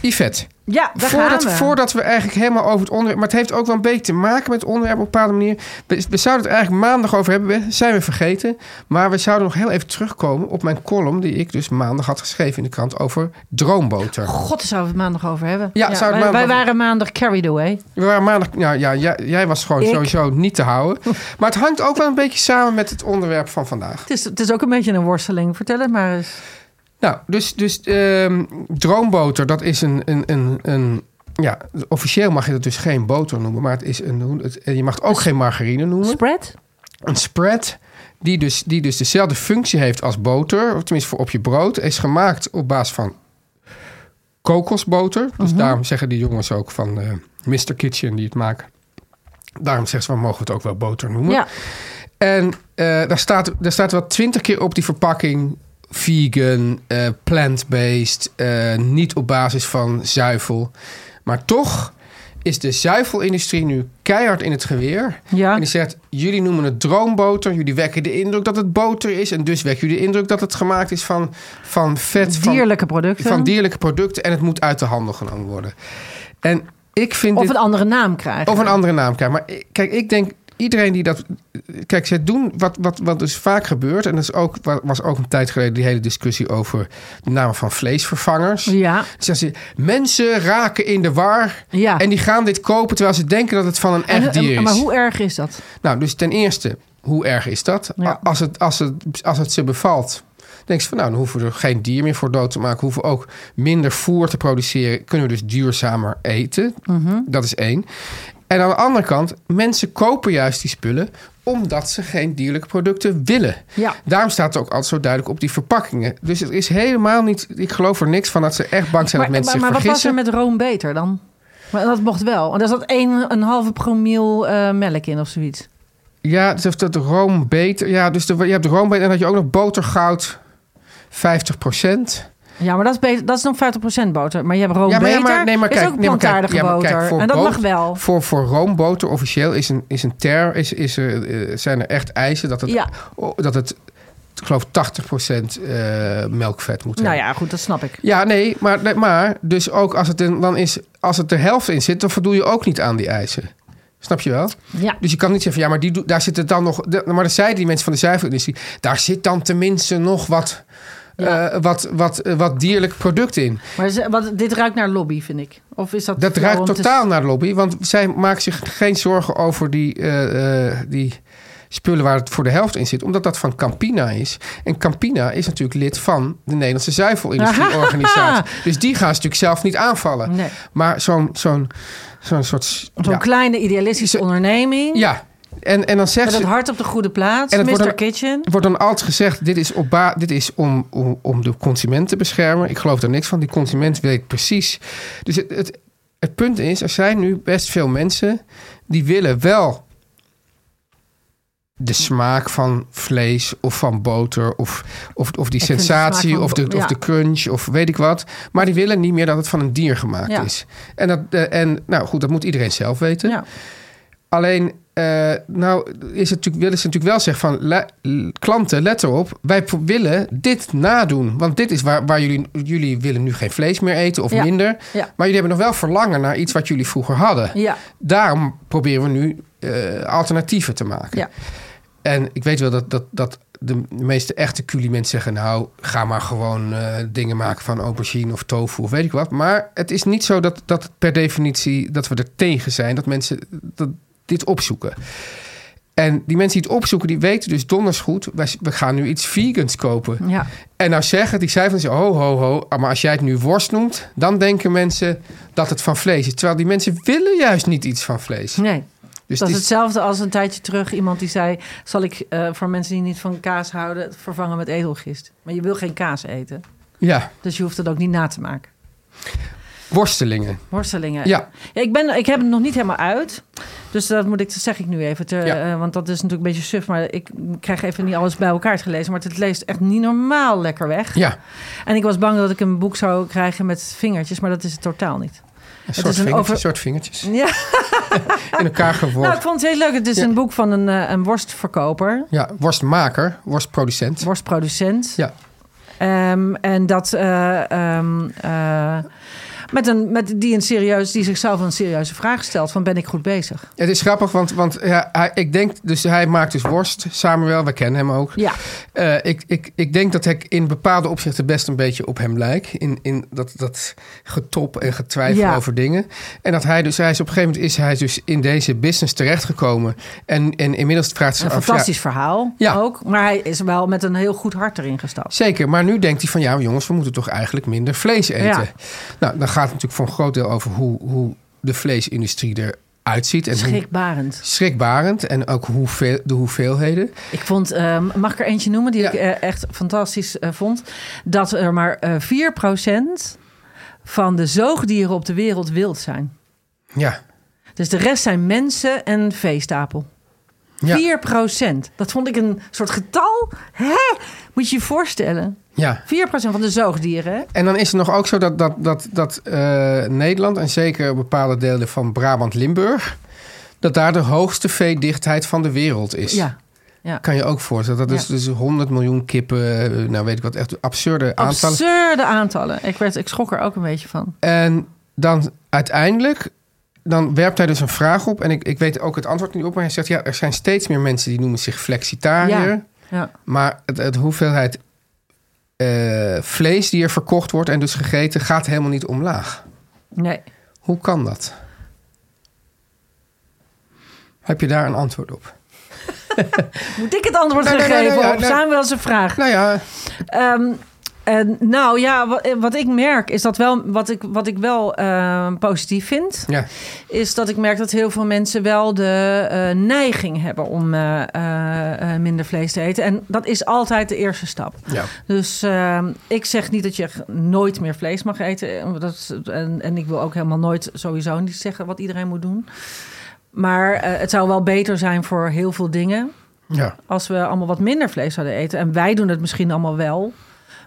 S2: Yvette,
S3: daar
S2: voordat,
S3: gaan we.
S2: voordat we eigenlijk helemaal over het onderwerp... Maar het heeft ook wel een beetje te maken met het onderwerp op een bepaalde manier. We, we zouden het eigenlijk maandag over hebben, we- zijn we vergeten. Maar we zouden nog heel even terugkomen op mijn column... die ik dus maandag had geschreven in de krant over droomboter.
S3: God, daar zouden we het maandag over hebben.
S2: Ja, zouden we
S3: wij,
S2: maandag
S3: wij
S2: over-
S3: waren maandag carried away.
S2: We waren maandag... Nou ja, jij, jij was gewoon
S3: Ik?
S2: sowieso niet te houden. Maar het hangt ook wel een beetje samen met het onderwerp van vandaag.
S3: Het is, het is ook een beetje een worsteling. Vertel het maar eens.
S2: Nou, dus, dus ehm, droomboter, dat is een, een, een, een... Ja, officieel mag je dat dus geen boter noemen. Maar het is een, hoe- het, je mag het
S3: Dus
S2: ook geen margarine noemen.
S3: Spread?
S2: Een spread, die dus, die dus dezelfde functie heeft als boter... of tenminste voor op je brood, is gemaakt op basis van kokosboter. Dus daarom zeggen die jongens ook van eh Mr. Kitchen die het maken... Daarom zeggen ze, we mogen het ook wel boter noemen.
S3: Ja.
S2: En eh, daar, staat, daar staat wel twintig keer op die verpakking... vegan, eh, plant-based, eh, niet op basis van zuivel. Maar toch is de zuivelindustrie nu keihard in het geweer.
S3: Ja.
S2: En die zegt, jullie noemen het droomboter. Jullie wekken de indruk dat het boter is. En dus wekken jullie de indruk dat het gemaakt is van, van vet. van,
S3: Dierlijke producten.
S2: van dierlijke producten. En het moet uit de handel genomen worden. En ik vind
S3: Of
S2: dit...
S3: een andere naam krijgen.
S2: Of een andere naam krijgen. Maar ik- kijk, ik denk iedereen die dat. Kijk, ze doen wat, wat, wat dus vaak gebeurt. En dat is ook, wa- was ook een tijd geleden die hele discussie over de namen van vleesvervangers.
S3: Ja.
S2: Zeggen ze, mensen raken in de war.
S3: Ja.
S2: En die gaan dit kopen terwijl ze denken dat het van een
S3: En-
S2: echt dier is.
S3: en- Maar hoe erg is dat?
S2: Nou, dus ten eerste, hoe erg is dat?
S3: Ja.
S2: A- Als, het, als, het, als het ze bevalt, denk je van nou, dan hoeven we er geen dier meer voor dood te maken. Hoeven we ook minder voer te produceren. Kunnen we dus duurzamer
S3: Mhm.
S2: eten. Dat is één. En aan de andere kant, mensen kopen juist die spullen omdat ze geen dierlijke producten willen.
S3: Ja.
S2: Daarom staat het ook altijd zo duidelijk op die verpakkingen. Dus het is helemaal niet... Ik geloof er niks van dat ze echt bang zijn
S3: maar
S2: dat mensen
S3: maar, maar
S2: zich
S3: wat was
S2: vergissen.
S3: er met room beter dan? Maar dat mocht wel. En daar zat één- een halve promiel eh, melk in of zoiets.
S2: Ja, dus heeft dat room beter. Ja, dus de, je hebt de room beter. En dan had je ook nog botergoud 50
S3: Ja, maar dat is, beter, dat is nog 50% boter. Maar je hebt room
S2: ja, maar, ja,
S3: beter.
S2: maar, nee, maar kijk,
S3: is ook
S2: nee, maar kijk,
S3: plantaardige
S2: ja, maar kijk,
S3: boter.
S2: voor
S3: en dat
S2: boter-
S3: mag wel.
S2: Voor, voor roomboter officieel is een, is een ter, is, is er, eh, zijn er echt eisen dat het,
S3: Ja.
S2: oh, dat het ik geloof 80% eh melkvet moet
S3: Nou
S2: hebben.
S3: ja, goed, dat snap ik.
S2: Ja, nee, maar, nee, maar dus ook als het, in, dan is, als het de helft in zit, dan voldoe je ook niet aan die eisen. Snap je wel?
S3: Ja.
S2: Dus je kan niet zeggen, ja, maar die, doe- daar zit het dan nog. de- maar dat zeiden die mensen van de zuivelindustrie. Daar zit dan tenminste nog wat,
S3: Ja.
S2: eh, wat, wat, eh, wat dierlijk product in.
S3: Maar ze- wat, dit ruikt naar lobby, vind ik. Of is dat...
S2: Dat
S3: flauw
S2: ruikt
S3: om te-
S2: totaal naar de lobby, want zij maken zich geen zorgen over die, eh, eh, die spullen waar het voor de helft in zit, omdat dat van Campina is. En Campina is natuurlijk lid van de Nederlandse zuivelindustrieorganisatie. dus die gaan ze natuurlijk zelf niet aanvallen.
S3: Nee.
S2: Maar zo'n zo'n zo'n soort.
S3: Zo'n
S2: ja.
S3: kleine idealistische
S2: Ze-
S3: onderneming.
S2: ja, en, en dan zegt
S3: Met het
S2: ze.
S3: hart op de goede plaats.
S2: En het wordt
S3: Mr.
S2: een-
S3: Kitchen.
S2: Er wordt dan altijd gezegd, dit is, op ba- dit is om, om, om de consument te beschermen. Ik geloof daar niks van. Die consument weet precies. Dus het, het, het punt is, er zijn nu best veel mensen die willen wel de smaak van vlees of van boter of, of, of die
S3: Ik vind de
S2: sensatie
S3: smaak van
S2: of, de,
S3: bo-
S2: of
S3: ja.
S2: de crunch of weet ik wat. Maar die willen niet meer dat het van een dier gemaakt
S3: Ja.
S2: is. En, dat, eh, en nou goed, dat moet iedereen zelf weten.
S3: Ja.
S2: Alleen, eh, nou is het natuurlijk, willen ze natuurlijk wel zeggen van... le- l- klanten, let erop, wij pro- willen dit nadoen. Want dit is waar, waar jullie... Jullie willen nu geen vlees meer eten of
S3: Ja.
S2: minder.
S3: Ja.
S2: Maar jullie hebben nog wel verlangen naar iets wat jullie vroeger hadden.
S3: Ja.
S2: Daarom proberen we nu eh, alternatieven te maken.
S3: Ja.
S2: En ik weet wel dat, dat, dat de meeste echte culie-mensen zeggen... nou, ga maar gewoon eh, dingen maken van aubergine of tofu of weet ik wat. Maar het is niet zo dat, dat het per definitie dat we er tegen zijn... dat mensen dat, dit opzoeken. En die mensen die het opzoeken, die weten dus donders goed... wij, we gaan nu iets vegans kopen.
S3: Ja.
S2: En nou zeggen, die cijfers, ho, ho, ho... ah, maar als jij het nu worst noemt, dan denken mensen dat het van vlees is. Terwijl die mensen willen juist niet iets van vlees.
S3: Nee.
S2: Dus
S3: dat
S2: het
S3: is
S2: is-
S3: hetzelfde als een tijdje terug iemand die zei... zal ik eh, voor mensen die niet van kaas houden het vervangen met edelgist. Maar je wil geen kaas eten.
S2: Ja,
S3: Dus je hoeft het ook niet na te maken.
S2: worstelingen.
S3: Worstelingen.
S2: Ja.
S3: ik, ben, ik heb het nog niet helemaal uit. Dus dat moet ik, dat zeg ik nu even. Ter,
S2: Ja.
S3: eh, want dat is natuurlijk een beetje suf. Maar ik krijg even niet alles bij elkaar gelezen. Maar het leest echt niet normaal lekker weg.
S2: Ja,
S3: En ik was bang dat ik een boek zou krijgen met vingertjes. Maar dat is het totaal niet.
S2: een
S3: is
S2: soort,
S3: een
S2: vingertjes,
S3: over-
S2: soort vingertjes.
S3: Ja.
S2: In elkaar geworpen.
S3: Nou, ik vond het heel leuk. Het is
S2: Ja.
S3: een boek van een, eh, een worstverkoper,
S2: Ja, worstmaker, worstproducent.
S3: worstproducent.
S2: Ja.
S3: Ehm, en dat eh, ehm, eh, met een, met die, een serieus, die zichzelf een serieuze vraag stelt: van ben ik goed bezig?
S2: Het is grappig, want, want ja, hij, ik denk, dus hij maakt dus worst. Samuel, we kennen hem ook.
S3: Ja,
S2: Eh, ik, ik, ik denk dat ik in bepaalde opzichten best een beetje op hem lijk. In, in dat, dat getop en getwijfel
S3: Ja.
S2: over dingen. En dat hij dus, hij is op een gegeven moment is hij dus in deze business terechtgekomen. En, en inmiddels vraagt ze
S3: een
S2: af.
S3: fantastisch
S2: ja,
S3: verhaal
S2: Ja.
S3: ook. Maar hij is wel met een heel goed hart erin gestapt.
S2: zeker, maar nu denkt hij van ja, jongens, we moeten toch eigenlijk minder vlees eten.
S3: Ja.
S2: Nou, dan gaat het natuurlijk voor een groot deel over hoe, hoe de vleesindustrie eruit ziet. En hoe
S3: Schrikbarend.
S2: schrikbarend. En ook hoeveel, de hoeveelheden.
S3: Ik vond, ehm, mag ik er eentje noemen die
S2: Ja.
S3: ik eh, echt fantastisch eh, vond? Dat er maar eh 4% van de zoogdieren op de wereld wild zijn.
S2: Ja.
S3: Dus de rest zijn mensen en veestapel.
S2: Ja.
S3: 4 Dat vond ik een soort getal. Hè? Moet je je voorstellen.
S2: ja.
S3: 4 van de zoogdieren. hè?
S2: En dan is het nog ook zo dat, dat, dat, dat eh, Nederland en zeker bepaalde delen van Brabant-Limburg, dat daar de hoogste veedichtheid van de wereld is.
S3: Ja.
S2: Kan je ook voorstellen. Dat is
S3: Ja.
S2: dus 100 miljoen kippen, eh, nou weet ik wat, echt absurde aantallen.
S3: Absurde aantallen. Ik, werd, ik schrok er ook een beetje van.
S2: En dan uiteindelijk, dan werpt hij dus een vraag op. En ik, ik weet ook het antwoord niet op, maar hij zegt, ja, er zijn steeds meer mensen die noemen zich flexitariër.
S3: Ja. Ja.
S2: Maar het, het hoeveelheid eh, vlees die er verkocht wordt en dus gegeten, gaat helemaal niet omlaag.
S3: Nee.
S2: Hoe kan dat? Heb je daar een antwoord op?
S3: Moet ik het antwoord
S2: Nee,
S3: gaan
S2: nee, nee,
S3: geven
S2: nee,
S3: op
S2: nee.
S3: Samuel zijn vraag?
S2: Nou ja,
S3: Ehm, En nou ja, wat, eh, wat ik merk is dat wel, wat ik, wat ik wel eh, positief vind,
S2: Ja.
S3: is dat ik merk dat heel veel mensen wel de eh, neiging hebben om eh, eh, eh, minder vlees te eten. En dat is altijd de eerste stap.
S2: Ja.
S3: Dus ehm, ik zeg niet dat je echt nooit meer vlees mag eten. eh, want Dat is, en, en ik wil ook helemaal nooit sowieso niet zeggen wat iedereen moet doen. Maar eh, het zou wel beter zijn voor heel veel dingen
S2: ja.
S3: als we allemaal wat minder vlees zouden eten. En wij doen het misschien allemaal wel.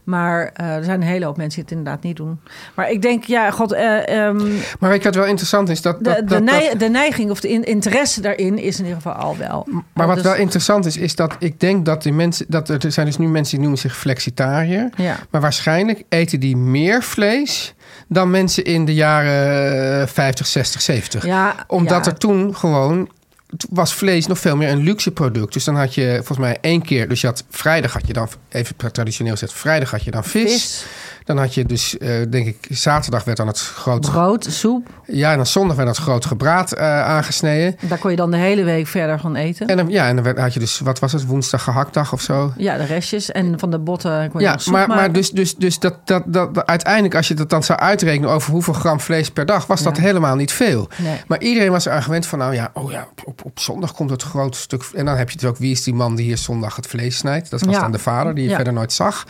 S3: Maar eh, er zijn een hele hoop mensen die het inderdaad niet doen. Maar ik denk, ja, god, eh, ehm,
S2: Maar weet je wat wel interessant is? Dat,
S3: de,
S2: dat,
S3: de,
S2: dat-
S3: nei-
S2: dat-
S3: de neiging of de in- interesse daarin is in ieder geval al wel.
S2: Maar wat
S3: Dus-
S2: wel interessant is, is dat ik denk dat die mensen, dat er er zijn dus nu mensen die noemen zich flexitariër.
S3: Ja.
S2: Maar waarschijnlijk eten die meer vlees dan mensen in de jaren eh, 50, 60, 70.
S3: Ja,
S2: Omdat
S3: ja.
S2: er toen gewoon toen was vlees nog veel meer een luxe product. Dus dan had je volgens mij één keer, dus je had vrijdag had je dan even traditioneel gezegd, vrijdag had je dan vis.
S3: Vis.
S2: Dan had je dus, eh, denk ik, zaterdag werd dan het groot,
S3: Brood, soep,
S2: ja, en dan zondag werd dat groot gebraad eh, aangesneden.
S3: daar kon je dan de hele week verder van eten.
S2: En dan, ja, en dan werd- had je dus, wat was het, woensdag gehaktdag of zo?
S3: ja, de restjes. En van de botten kon je
S2: Ja,
S3: nog soep
S2: maar, maar
S3: maken.
S2: dus, dus, dus dat, dat, dat, dat- uiteindelijk, als je dat dan zou uitrekenen over hoeveel gram vlees per dag, was dat
S3: Ja.
S2: helemaal niet veel.
S3: Nee.
S2: Maar iedereen was eraan gewend van, nou ja, oh ja op, op, op zondag komt het groot stuk. En dan heb je dus ook, wie is die man die hier zondag het vlees snijdt? Dat was
S3: Ja.
S2: dan de vader, die je
S3: Ja.
S2: verder nooit zag.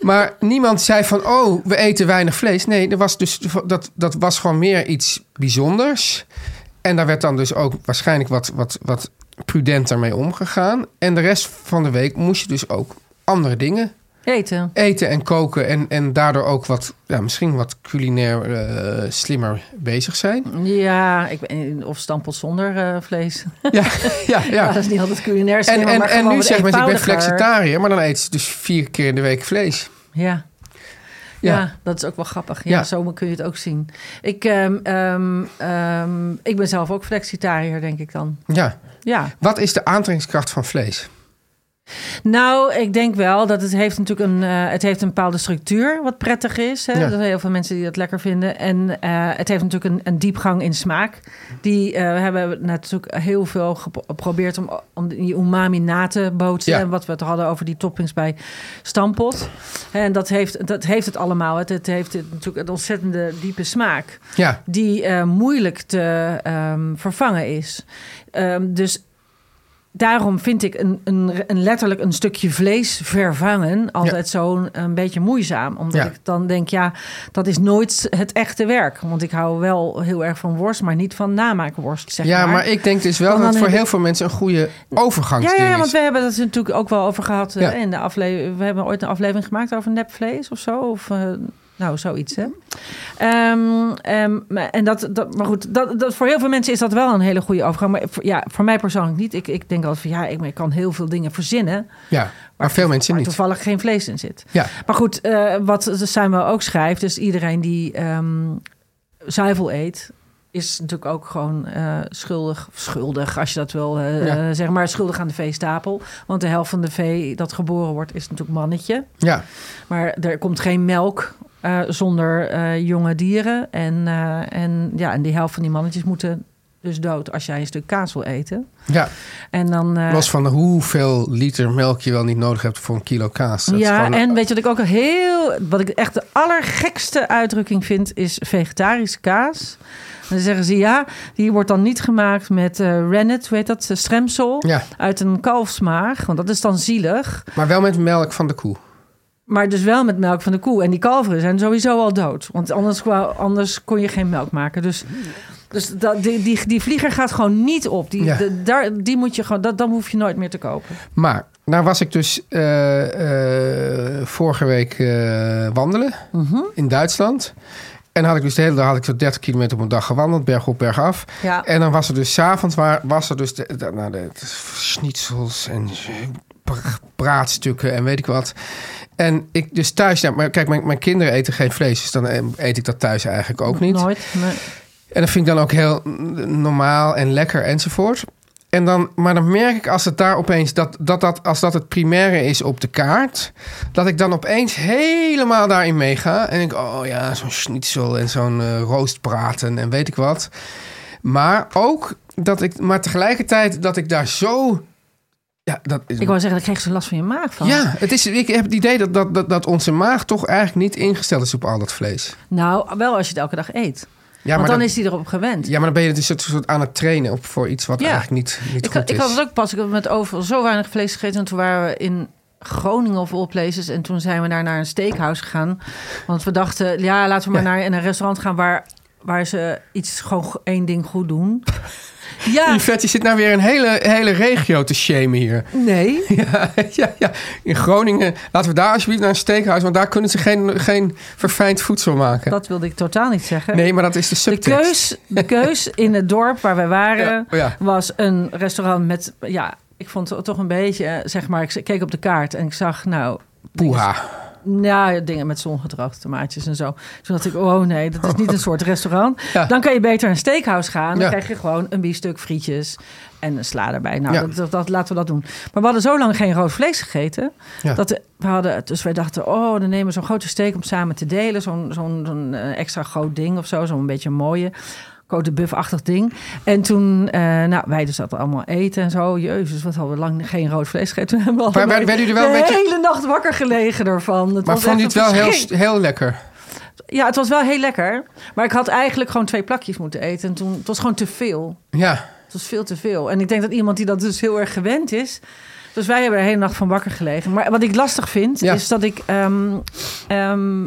S2: maar niemand zei van, oh, we eten weinig vlees. Nee, er was dus, dat, dat was gewoon meer iets bijzonders. En daar werd dan dus ook waarschijnlijk wat, wat, wat prudenter mee omgegaan. En de rest van de week moest je dus ook andere dingen
S3: Eten.
S2: eten en koken en, en daardoor ook wat, ja, misschien wat culinair eh, slimmer bezig zijn.
S3: Ja, ik, weet- of stampel zonder eh, vlees.
S2: Ja, ja,
S3: Ja, dat
S2: ja.
S3: is niet altijd culinair.
S2: En, en,
S3: maar
S2: en
S3: gewoon
S2: nu
S3: wat
S2: zeggen mensen, ik ben
S3: eenvoudiger.
S2: flexitariër, maar dan eet ze dus vier keer in de week vlees.
S3: Ja.
S2: Ja.
S3: Ja. dat is ook wel grappig. Ja,
S2: Ja.
S3: zo kun je het ook zien. Ik, ehm, ehm, ehm, ik ben zelf ook flexitariër, denk ik dan.
S2: Ja.
S3: Ja.
S2: Wat is de aantrekkingskracht van vlees?
S3: Nou, ik denk wel dat het heeft natuurlijk een, eh, het heeft een bepaalde structuur wat prettig is. Hè?
S2: Ja.
S3: Er zijn heel veel mensen die dat lekker vinden. En eh, het heeft natuurlijk een, een diepgang in smaak. Die eh, hebben natuurlijk heel veel gep- geprobeerd om, om die umami na te bootsen.
S2: Ja.
S3: En wat we het hadden over die toppings bij stampot. En dat heeft, dat heeft het allemaal. Het, het heeft natuurlijk een ontzettende diepe smaak
S2: Ja,
S3: die eh, moeilijk te ehm, vervangen is. Ehm, dus daarom vind ik een, een, een letterlijk een stukje vlees vervangen altijd zo'n een beetje moeizaam. Omdat
S2: Ja.
S3: ik dan denk, ja, dat is nooit het echte werk. Want ik hou wel heel erg van worst, maar niet van namaakworst, zeg
S2: ja
S3: maar.
S2: maar ik denk dus wel
S3: Dan-
S2: dat het
S3: dan
S2: voor
S3: heb
S2: heel veel mensen een goede
S3: ja,
S2: overgangsding
S3: ja, ja, want
S2: is.
S3: we hebben dat natuurlijk ook wel over gehad eh,
S2: Ja.
S3: in de aflevering. We hebben ooit een aflevering gemaakt over nepvlees of zo. Of, eh, nou, zoiets, hè. Ehm, ehm, maar- en dat, dat, maar goed, dat, dat, voor heel veel mensen is dat wel een hele goede overgang. Maar voor, ja, voor mij persoonlijk niet. Ik, ik denk altijd van, ja, ik, ik kan heel veel dingen verzinnen.
S2: Ja, maar, veel mensen
S3: waar
S2: niet.
S3: toevallig geen vlees in zit.
S2: Ja,
S3: Maar goed, eh, wat Samuel ook schrijft, dus iedereen die ehm, zuivel eet, is natuurlijk ook gewoon eh, schuldig, schuldig als je dat wil eh,
S2: Ja.
S3: eh, zeggen, maar schuldig aan de veestapel. Want de helft van de vee dat geboren wordt, is natuurlijk mannetje.
S2: ja,
S3: Maar er komt geen melk eh, zonder eh, jonge dieren. En, eh, en, ja, en die helft van die mannetjes moeten dus dood als jij een stuk kaas wil eten.
S2: ja.
S3: En dan, eh,
S2: Los van hoeveel liter melk je wel niet nodig hebt voor een kilo kaas. Dat is
S3: ja,
S2: gewoon-
S3: en weet je wat ik ook heel... Wat ik echt de allergekste uitdrukking vind, is vegetarische kaas. En dan zeggen ze, ja, die wordt dan niet gemaakt met eh rennet, hoe heet dat, eh, stremsel,
S2: Ja.
S3: uit een kalfsmaag. Want dat is dan zielig.
S2: Maar wel met melk van de koe.
S3: Maar dus wel met melk van de koe. En die kalveren zijn sowieso al dood. Want anders, kwa- anders kon je geen melk maken. Dus, dus dat, die, die, die vlieger gaat gewoon niet op. Die,
S2: Ja.
S3: de- daar, die moet je gewoon, dat, dan hoef je nooit meer te kopen.
S2: Maar nou was ik dus eh, eh, vorige week eh, wandelen
S3: Mhm.
S2: in Duitsland. En had ik dus de hele dag had ik zo 30 kilometer op een dag gewandeld, bergop, bergaf.
S3: Ja.
S2: En dan was er dus s'avonds waar- was er dus de, de- nou, de, de schnitzels en pra- braadstukken en weet ik wat. En ik dus thuis, nou, maar kijk, mijn, mijn kinderen eten geen vlees, dus dan eh, eet ik dat thuis eigenlijk ook niet.
S3: Nooit. nee.
S2: En dat vind ik dan ook heel mm, normaal en lekker enzovoort. En dan, maar dan merk ik als het daar opeens, dat, dat, dat, als dat het primaire is op de kaart, dat ik dan opeens helemaal daarin meega. En ik, oh ja, zo'n schnitzel en zo'n eh, roostbraten en weet ik wat. Maar ook dat ik, maar tegelijkertijd dat ik daar zo Ja, dat is
S3: Ik wou zeggen, daar kreeg ze last van je maag van.
S2: ja het is, ik heb het idee dat, dat, dat, dat onze maag toch eigenlijk niet ingesteld is op al dat vlees.
S3: Nou, wel als je het elke dag eet.
S2: Ja,
S3: Want
S2: maar
S3: dan
S2: dat-
S3: is hij erop gewend.
S2: Ja, maar dan ben je het een soort, soort aan het trainen op voor iets wat
S3: Ja.
S2: eigenlijk niet, niet
S3: ik,
S2: goed
S3: had-
S2: is.
S3: ik had het ook pas. Ik had met overal zo weinig vlees gegeten. En toen waren we in Groningen of all places. En toen zijn we daar naar een steakhouse gegaan. Want we dachten, ja, laten we maar naar een restaurant gaan waar, waar ze iets gewoon go- één ding goed doen. Ja,
S2: Yvette, je zit nou weer een hele, hele regio te shamen hier.
S3: nee.
S2: Ja, ja, ja. In Groningen, laten we daar alsjeblieft naar een steekhuis, want daar kunnen ze geen, geen verfijnd voedsel maken.
S3: Dat wilde ik totaal niet zeggen.
S2: nee, maar dat is de
S3: De
S2: subtekst.
S3: keus, de keus in het dorp waar wij waren,
S2: Ja, ja.
S3: was een restaurant met, ja, ik vond het toch een beetje, eh, zeg maar, ik keek op de kaart en ik zag, nou,
S2: Poeha.
S3: Ja, dingen met zongedrag, tomaatjes en zo. Toen dacht ik, oh nee, dat is niet een soort restaurant.
S2: Ja.
S3: Dan kan je beter een steakhouse gaan. Dan
S2: Ja.
S3: krijg je gewoon een biefstuk, frietjes en een sla erbij. Nou,
S2: Ja.
S3: dat, dat, dat- laten we dat doen. Maar we hadden zo lang geen rood vlees gegeten.
S2: Ja.
S3: Dat we- we hadden, dus wij dachten, oh, dan nemen we zo'n grote steak om samen te delen. Zo'n zo'n zo'n, eh, extra groot ding of zo, zo'n beetje mooie. Cote buffachtig ding. En toen, eh, nou, wij dus dat allemaal eten en zo. Jezus, wat hadden we lang geen rood vlees gegeten. Toen hebben we
S2: Maar
S3: allebei
S2: werden jullie wel een
S3: de
S2: beetje-
S3: hele nacht wakker gelegen ervan. Het
S2: Maar
S3: was
S2: vond je
S3: echt
S2: het wel
S3: een
S2: heel,
S3: verschrik-
S2: heel lekker?
S3: Ja, het was wel heel lekker. Maar ik had eigenlijk gewoon twee plakjes moeten eten. En toen, het was gewoon te veel.
S2: Ja.
S3: Het was veel te veel. En ik denk dat iemand die dat dus heel erg gewend is... Dus wij hebben er de hele nacht van wakker gelegen. Maar wat ik lastig vind,
S2: Ja.
S3: is dat ik... ehm, ehm,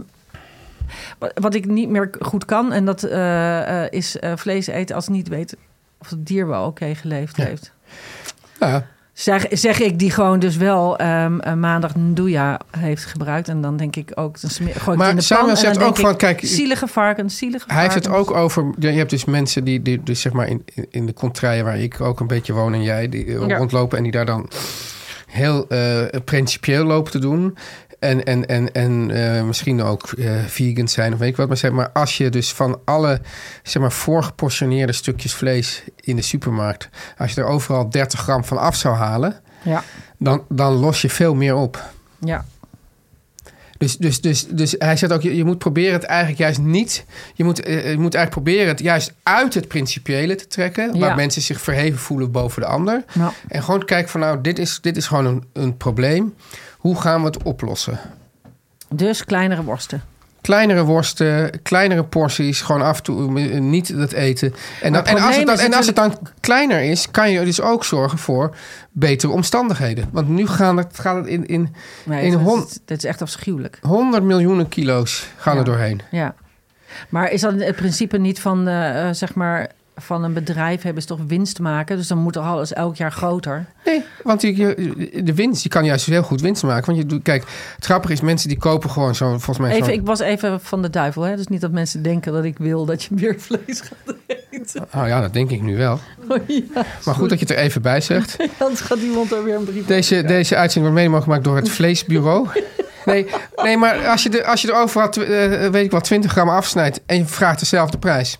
S3: wat- wat ik niet meer goed kan, en dat eh, eh, is eh, vlees eten als ik niet weet of het dier wel oké geleefd
S2: Ja.
S3: heeft.
S2: ja.
S3: Zeg, zeg ik, die gewoon dus wel ehm, een maandag Nduja heeft gebruikt. En dan denk ik ook, dan smeer, gooi ik
S2: Maar
S3: het in de pan.
S2: Samuel
S3: en dan
S2: zegt
S3: denk
S2: ook
S3: ik,
S2: van, kijk,
S3: Zielige varkens, zielige
S2: Hij heeft
S3: varkens.
S2: het ook over. Je hebt dus mensen die, die dus zeg maar in, in- in de contraien waar ik ook een beetje woon en jij, die eh,
S3: Ja.
S2: rondlopen en die daar dan heel eh, principieel lopen te doen. En, en, en, en eh, misschien ook eh vegan zijn of weet ik wat. Maar, zeg maar als je dus van alle zeg maar, voorgeportioneerde stukjes vlees in de supermarkt... als je er overal 30 gram van af zou halen...
S3: Ja,
S2: dan, dan los je veel meer op.
S3: ja.
S2: Dus, dus, dus, dus hij zegt ook, je, je moet proberen het eigenlijk juist niet... Je moet, eh, je moet eigenlijk proberen het juist uit het principiële te trekken... waar
S3: Ja.
S2: mensen zich verheven voelen boven de ander.
S3: Nou,
S2: En gewoon kijken van, nou, dit is, dit is gewoon een, een probleem. Hoe gaan we het oplossen?
S3: dus kleinere worsten.
S2: Kleinere worsten, kleinere porties, gewoon af en toe eh, niet dat eten. En, dan,
S3: het
S2: en, als, het
S3: probleem
S2: dan,
S3: is
S2: en als het dan kleiner is, kan je dus ook zorgen voor betere omstandigheden. Want nu gaan het, gaat het in, in
S3: Nee,
S2: In
S3: dat,
S2: Hon-
S3: is, dat is echt afschuwelijk.
S2: 100 miljoenen kilo's gaan
S3: Ja.
S2: er doorheen.
S3: Ja. Maar is dat het principe niet van, eh, eh, zeg maar, van een bedrijf hebben ze toch winst maken? Dus dan moet toch alles elk jaar groter?
S2: Nee, want die- je- de winst, je kan juist heel goed winst maken. Want je doet, kijk, het grappige is, mensen die kopen gewoon zo, volgens mij...
S3: Even,
S2: zo'n-
S3: ik was even van de duivel, hè? Dus niet dat mensen denken dat ik wil dat je meer vlees gaat eten.
S2: Oh ja, dat denk ik nu wel.
S3: Oh, ja.
S2: Maar goed dat je het er even bij zegt.
S3: Anders gaat iemand daar weer een brief
S2: Deze, deze uitzending wordt mede mogelijk gemaakt door het Vleesbureau. Nee, nee maar als je, de, als je er overal, tw- eh, weet ik wel, 20 gram afsnijdt... en je vraagt dezelfde prijs.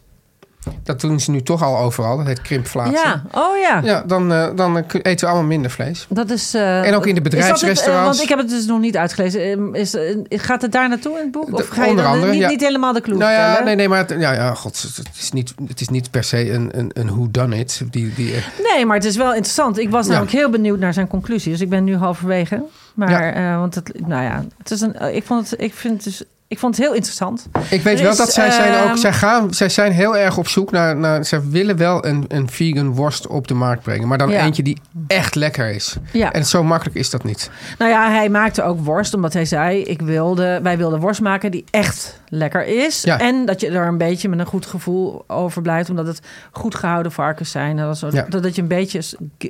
S2: Dat doen ze nu toch al overal. Dat heet krimpflatie.
S3: Ja, oh ja.
S2: Ja, dan, eh, dan eh, eten we allemaal minder vlees.
S3: Dat is, eh,
S2: En ook in de
S3: is dat het, eh,
S2: bedrijfsrestaurants.
S3: want ik heb het dus nog niet uitgelezen. Eh, Is, eh, gaat het daar naartoe in het boek? Of
S2: De-
S3: ga je
S2: onder
S3: dan eh,
S2: andere,
S3: niet,
S2: ja.
S3: niet helemaal de clue
S2: Nou ja,
S3: vertellen?
S2: nee, nee, maar het, ja, ja, god, het is niet, het is niet per se een, een, een who done it. Die, die, eh,
S3: Nee, maar het is wel interessant. Ik was
S2: Ja.
S3: namelijk heel benieuwd naar zijn conclusie. Dus ik ben nu halverwege. Maar,
S2: Ja.
S3: eh, want het, nou ja, het is een, eh, ik, vond het, ik, vind het dus, ik vond het heel interessant.
S2: Ik weet
S3: Er
S2: wel
S3: is,
S2: dat zij zijn ook.
S3: ehm,
S2: Zij, gaan, zij zijn heel erg op zoek naar. naar zij willen wel een, een vegan worst op de markt brengen. Maar dan
S3: Ja.
S2: eentje die echt lekker is.
S3: Ja.
S2: En zo makkelijk is dat niet.
S3: Nou ja, hij maakte ook worst, omdat hij zei: ik wilde, wij wilden worst maken die echt lekker is.
S2: Ja.
S3: En dat je er een beetje met een goed gevoel over blijft, omdat het goed gehouden varkens zijn. En dat, zo,
S2: Ja.
S3: dat, dat je een beetje s- k-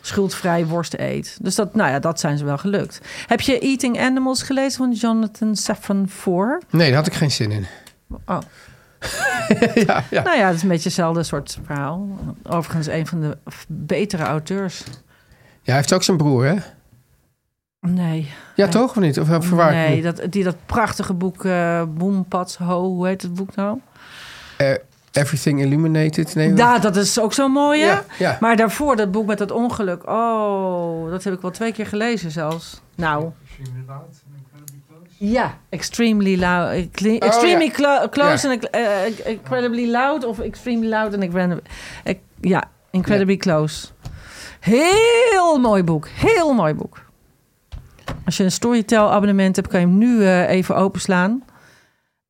S3: schuldvrij worst eet. Dus dat, nou ja, dat zijn ze wel gelukt. Heb je Eating Animals gelezen van Jonathan Safran Foer?
S2: Nee, daar had ik geen zin in.
S3: Oh.
S2: ja, ja.
S3: Nou ja, het is een beetje hetzelfde soort verhaal. Overigens een van de f- betere auteurs.
S2: ja, hij heeft ook zijn broer, hè? Ja,
S3: Nee.
S2: toch of niet? Of eh, verwaar ik
S3: nee,
S2: nu?
S3: dat, die dat prachtige boek eh Boom, Pats, Ho, hoe heet het boek nou?
S2: Eh, Everything Illuminated. Nee, wat-
S3: Ja, dat is ook zo mooi, hè?
S2: Ja, ja.
S3: Maar daarvoor dat boek met dat ongeluk. Oh, dat heb ik wel twee keer gelezen zelfs. Nou. Ja, extremely loud, eh, cle-
S2: Oh, ja.
S3: extremely clo- close eh,
S2: Ja.
S3: en incredibly loud of extremely loud en ik ja, incredibly close. Heel mooi boek. Heel mooi boek. Als je een Storytel abonnement hebt, kan je hem nu eh, even openslaan.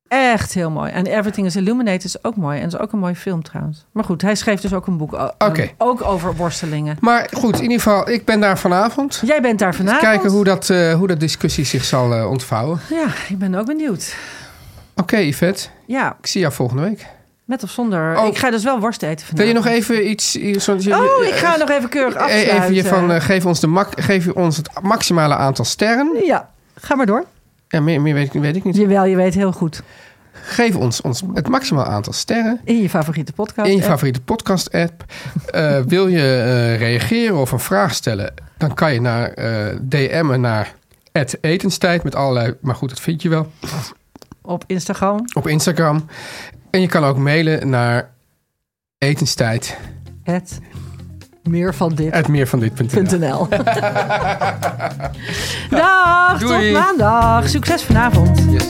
S3: Echt heel mooi. En Everything is Illuminated is ook mooi. En is ook een mooie film trouwens. Maar goed, hij schreef dus ook een boek. o-
S2: Oké.
S3: Ook over worstelingen.
S2: Maar goed, in ieder geval, ik ben daar vanavond.
S3: Jij bent daar vanavond.
S2: Kijken hoe dat, eh, hoe dat discussie zich zal eh, ontvouwen.
S3: Ja, ik ben ook benieuwd.
S2: Oké, Yvette.
S3: Ja,
S2: Ik zie jou volgende week.
S3: met of zonder.
S2: Oh.
S3: Ik ga dus wel worst eten
S2: Wil je
S3: vanavond.
S2: nog even iets... iets- eh, want je-
S3: Oh,
S2: je-
S3: ik ga nog even keurig
S2: eh,
S3: afsluiten.
S2: Even je van, eh, geef, ons de mak, geef ons het maximale aantal sterren.
S3: Ja, ga maar door.
S2: Ja, meer, meer weet, ik, weet ik niet.
S3: Jawel, je weet heel goed.
S2: Geef ons, ons het maximaal aantal sterren.
S3: In je favoriete podcast.
S2: In je
S3: Eh,
S2: favoriete podcast-app. Eh, wil je eh, reageren of een vraag stellen? Dan kan je naar eh, DM'en naar etenstijd. Met allerlei, maar goed, dat vind je wel.
S3: eh, Op Instagram.
S2: Op Instagram. En je kan ook mailen naar etenstijd.meervandit.nl
S3: Het meer van dit. .nl. Dag,
S2: Doei.
S3: tot maandag. Succes vanavond.
S2: Yes.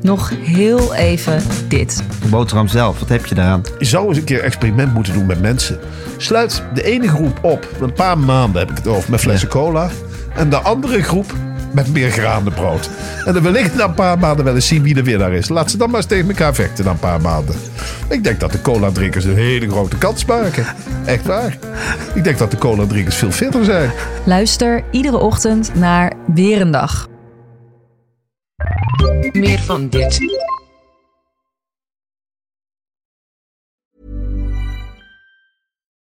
S4: Nog heel even dit.
S5: De boterham zelf, wat heb je daaraan?
S6: Je zou eens een keer een experiment moeten doen met mensen. Sluit de ene groep op, een paar maanden heb ik het over, met flessen cola. En de andere groep met meer graanenbrood. En dan wellicht na een paar maanden wel eens zien wie de winnaar is. Laat ze dan maar eens tegen elkaar vechten na een paar maanden. Ik denk dat de cola-drinkers een hele grote kans maken. Echt waar. Ik denk dat de cola-drinkers veel fitter zijn.
S4: Luister iedere ochtend naar Weer een Dag.
S7: Meer van dit.